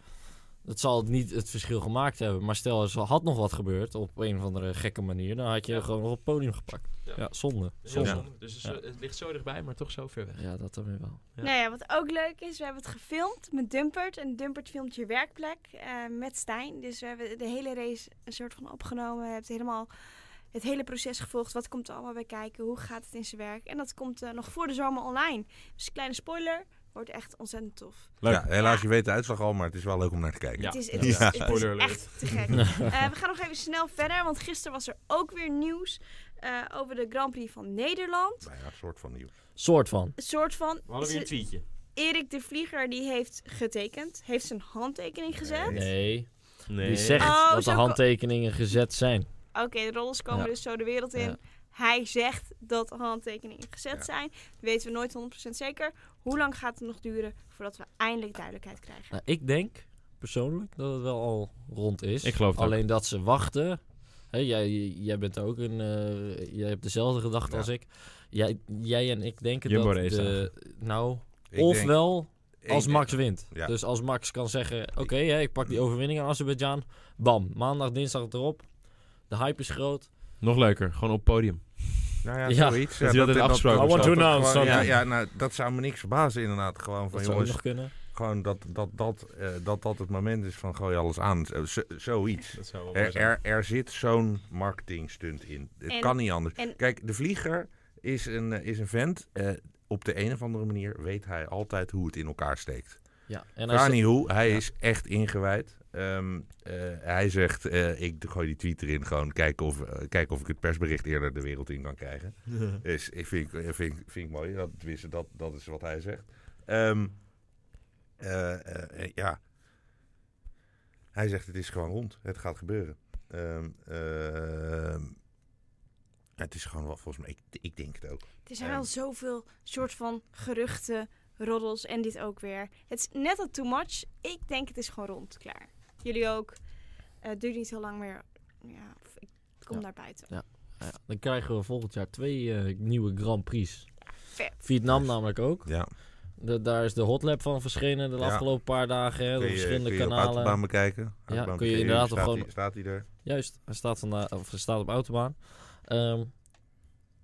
C: Het zal niet het verschil gemaakt hebben. Maar stel, er zal- had nog wat gebeurd op een of andere gekke manier. Dan had je
A: Ja.
C: gewoon nog op het podium gepakt.
A: Ja.
C: Ja, zonde.
A: Heel
C: Zonde.
A: zonde. Dus het, is- het ligt zo dichtbij, maar toch zo ver weg.
C: Ja, dat dan weer wel.
A: Ja.
D: Nou ja, wat ook leuk is, we hebben het gefilmd met Dumpert. En Dumpert filmt je werkplek eh, met Stijn. Dus we hebben de hele race een soort van opgenomen. Je hebt helemaal het hele proces gevolgd. Wat komt er allemaal bij kijken? Hoe gaat het in zijn werk? En dat komt eh, nog voor de zomer online. Dus kleine spoiler, wordt echt ontzettend tof.
A: Leuk.
B: Ja, helaas, je weet de uitslag al, maar het is wel leuk om naar te kijken.
A: Ja.
D: Het is, het
A: Ja.
D: is,
B: Ja.
D: het is
A: Spoiler alert.
D: echt te gek. Eh, we gaan nog even snel verder, want gisteren was er ook weer nieuws eh, over de Grand Prix van Nederland.
B: Bijna een soort van nieuws.
C: Soort van.
D: Een soort van...
A: We hadden weer een tweetje.
D: Erik de Vlieger die heeft getekend, heeft zijn handtekening gezet.
B: Nee.
C: Nee.
A: Nee.
C: Die zegt
D: Oh,
C: dat de
D: zo ko-
C: handtekeningen gezet zijn.
D: Oké, de rollers komen
C: Ja.
D: dus zo de wereld in.
C: Ja.
D: Hij zegt dat de handtekeningen gezet
B: Ja.
D: zijn. Weten we nooit 100% zeker. Hoe lang gaat het nog duren voordat we eindelijk duidelijkheid krijgen?
C: Nou, ik denk persoonlijk dat het wel al rond is.
A: Ik geloof het
C: Alleen dat ze wachten. Hè, jij, jij bent ook een. eh, jij hebt dezelfde gedachte
B: Ja.
C: als ik. Jij, jij en ik denken
A: Jumbo
C: dat.
A: race
C: De, nou,
B: Ik denk-
C: ofwel
B: ik
C: als
B: denk-
C: Max wint.
B: Ja.
C: Dus als Max kan zeggen: Oké, hè, ik pak die overwinning aan Azerbeidzjan. Bam, maandag, dinsdag erop. De hype is groot.
A: Nog leuker, gewoon op podium.
B: Nou ja,
C: Ja,
B: zoiets.
A: dat hij dat heeft afgesproken. I want
C: to announce
B: gewoon- ja,
C: something.
B: ja, nou, dat zou me niks verbazen inderdaad. Gewoon van
C: Dat zou ook
B: jongens,
C: nog kunnen.
B: gewoon dat dat, dat, eh, dat dat het moment is van gooi alles aan. Z- z- zoiets.
A: Dat zou
B: Er, er, er zit zo'n marketingstunt in. Het
D: En-
B: kan niet anders.
D: en-
B: Kijk, de vlieger is een, eh, is een vent. eh, op de een of andere manier weet hij altijd hoe het in elkaar steekt.
C: Ja. En
B: Vraag
C: als
B: niet hoe, hij
C: Ja.
B: is echt ingewijd. Ehm, eh, hij zegt, eh, ik gooi die tweet erin gewoon, kijken of, eh, kijken of ik het persbericht eerder de wereld in kan krijgen. Dus ik vind, ik- vind, ik- vind ik mooi, dat, tenminste, dat, dat is wat hij zegt. Ehm, eh, eh, eh, ja, hij zegt het is gewoon rond, het gaat gebeuren. Ehm, ehm, het is gewoon wel, volgens mij, ik, ik denk het ook.
D: Er zijn
B: Ehm.
D: wel zoveel soort van geruchten, roddels en dit ook weer. Het is net al too much. Ik denk het is gewoon rond, klaar. Jullie ook. Eh, het duurt niet heel lang meer. Ja, of ik kom
C: Ja.
D: naar buiten.
C: Ja, dan krijgen we volgend jaar twee eh, nieuwe Grand Prix.
D: Vet.
C: Vietnam
B: Nice.
C: namelijk ook.
B: Ja,
C: Da- daar is de hotlap van verschenen de
B: Ja.
C: afgelopen paar dagen. Hè, op
B: kun je,
C: verschillende
B: kun je op
C: kanalen.
B: autobaan bekijken. Autobaan
C: kun je
B: bekijken,
C: inderdaad
B: staat
C: ook gewoon-
B: hij- Staat hij er?
C: Juist, hij staat, vandaag, of hij staat op autobaan. Ehm,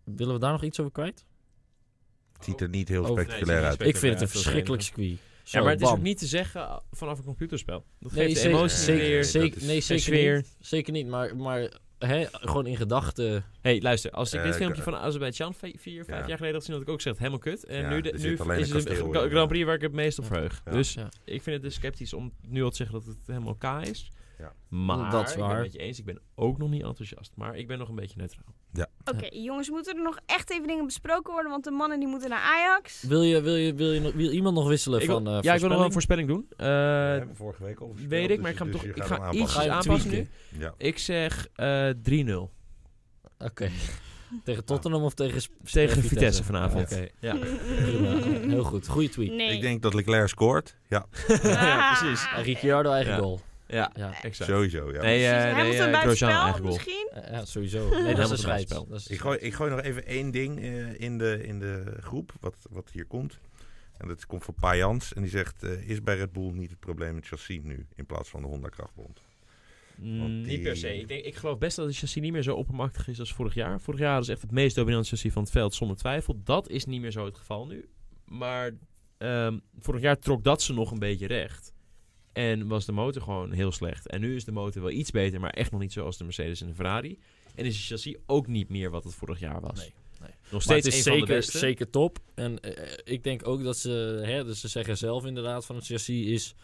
C: willen we daar nog iets over kwijt?
B: Het ziet er niet heel
C: Oh, nee,
B: spectaculair uit.
C: Ik vind het
A: ja,
C: een
A: dat is
C: verschrikkelijk
A: het
C: circuit.
A: Ja, maar het is
C: bam.
A: ook niet te zeggen eh, vanaf een computerspel. Dat
C: Nee,
A: geeft de
C: zeker-
A: emotie
C: zeker,
A: weer.
C: zeker-
B: dat is-
C: nee,
A: de
C: zeker
A: sfeer.
C: niet. Zeker niet, maar, maar hè, gewoon in gedachten.
A: hey, luister. Als ik
B: Eh,
A: dit
B: ik-
A: filmpje van Azerbeidzjan vi- vier, vijf
B: Ja.
A: jaar geleden had gezien, had ik ook gezegd, helemaal kut. En
B: Ja,
A: nu, de-
B: er
A: nu
B: zit alleen
A: is
B: een
A: het een
B: kasteel
A: Gra-
B: in.
A: Grand Prix waar ik het meest op
C: Ja.
A: verheug.
B: Ja.
A: Dus
C: Ja.
A: ik vind het dus sceptisch om nu al te zeggen dat het helemaal K is.
B: Ja.
A: Maar
C: Dat is
A: ik ben
C: waar.
A: het met je eens. Ik ben ook nog niet enthousiast. Maar ik ben nog een beetje neutraal.
D: Oké, jongens, moeten er nog echt even dingen besproken worden? Want de mannen die moeten naar Ajax.
C: Wil, je, wil, je, wil, je, nog- wil iemand nog wisselen
A: Ik wil-
C: van eh,
A: ja, ik wil nog wel een
C: voorspelling?
A: voorspelling doen. Eh,
B: We hebben vorige week al gespeeld,
A: weet ik,
B: dus-
A: maar ik ga hem
B: dus
A: toch
B: je
A: ik
B: gaat hem
A: ga
B: aanpassen.
A: ietsjes
C: Ga je hem
A: aanpassen nu.
C: tweaken?
B: Ja.
A: Ik zeg eh 3-0
C: Oké. tegen Tottenham of tegen, Sp- eh,
A: tegen
C: Vitesse.
A: Vitesse vanavond.
C: Oké,
A: Ja.
C: prima. heel goed. Goeie tweet.
D: Nee.
B: Ik denk dat Leclerc scoort. Ja,
A: ja, precies.
D: Ah.
C: En Ricciardo eigen
A: Ja.
C: goal.
A: Ja,
C: Ja.
A: exact.
B: sowieso. Ja.
A: Nee, eh
D: Precies,
A: nee,
D: Hamilton
A: eh,
D: bij het
A: Grosjean
D: spel
A: eigen goal.
D: misschien?
C: Eh, ja, sowieso. Nee, dat is
A: Helemaal
C: een scheid.
A: buitenspel.
C: Dat is een
B: Ik, gooi,
C: scheid.
B: ik gooi nog even één ding eh, in, de, in de groep, wat, wat hier komt. En dat komt van Pajans. En die zegt, eh, is bij Red Bull niet het probleem het chassis nu? In plaats van de Honda krachtbond.
A: Mm,
B: Want die-
A: Niet per se. Ik, denk, ik geloof best dat het chassis niet meer zo oppermachtig is als vorig jaar. Vorig jaar is echt het meest dominante chassis van het veld, zonder twijfel. Dat is niet meer zo het geval nu. Maar ehm, vorig jaar trok dat ze nog een beetje recht. En was de motor gewoon heel slecht. En nu is de motor wel iets beter, maar echt nog niet zoals de Mercedes en de Ferrari. En is het chassis ook niet meer wat het vorig jaar was.
C: Nee, nee.
A: Nog
C: Maar
A: steeds
C: het is
A: een
C: zeker,
A: van de beste.
C: zeker top. En eh, eh, ik denk ook dat ze, hè, dus ze zeggen zelf inderdaad van het chassis is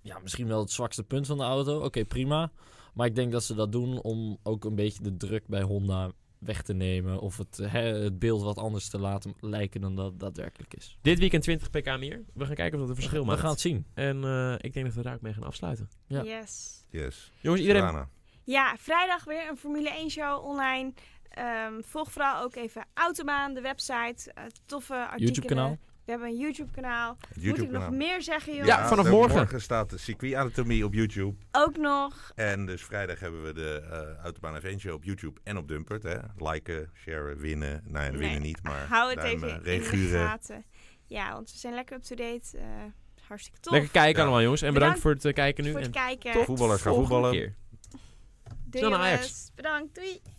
C: ja, misschien wel het zwakste punt van de auto. Oké, prima. Maar ik denk dat ze dat doen om ook een beetje de druk bij Honda weg te nemen. Of het, hè, het beeld wat anders te laten lijken dan dat daadwerkelijk is.
A: Dit weekend 20 pk meer. We gaan kijken of dat een verschil
C: We
A: maakt.
C: gaan het zien.
A: En eh, ik denk dat we daar ook mee gaan afsluiten.
C: Ja.
D: Yes.
B: Yes.
A: Jongens, iedereen
B: Rana.
D: Ja, vrijdag weer een Formule 1 show online. Ehm, volg vooral ook even Autobaan, de website. eh, toffe artikelen.
C: YouTube-kanaal.
D: We hebben een YouTube-kanaal.
B: Het
D: Moet ik
B: YouTube-kanaal.
D: nog meer zeggen, joh?
A: Ja, vanaf
B: de-
A: morgen.
B: staat de circuit anatomie op YouTube.
D: Ook nog.
B: En dus vrijdag hebben we de eh Uit de Baan Event Show op YouTube en op Dumpert. Hè? Liken, sharen, winnen. Nou ja,
D: Nee,
B: winnen niet, maar
D: Hou het
B: duimen,
D: even
A: eh,
D: in de
B: reaguren.
D: gaten. Ja, want we zijn lekker up-to-date. eh, hartstikke tof.
A: Lekker kijken
B: Ja.
A: allemaal, jongens. En bedankt
D: Bedankt
A: voor het eh, kijken nu.
D: voor het
A: en
D: kijken.
A: tot
B: Voetballers gaan
A: volgende
B: voetballen.
A: keer.
D: Doei
A: Snel naar Ajax.
D: jongens. Bedankt. Doei.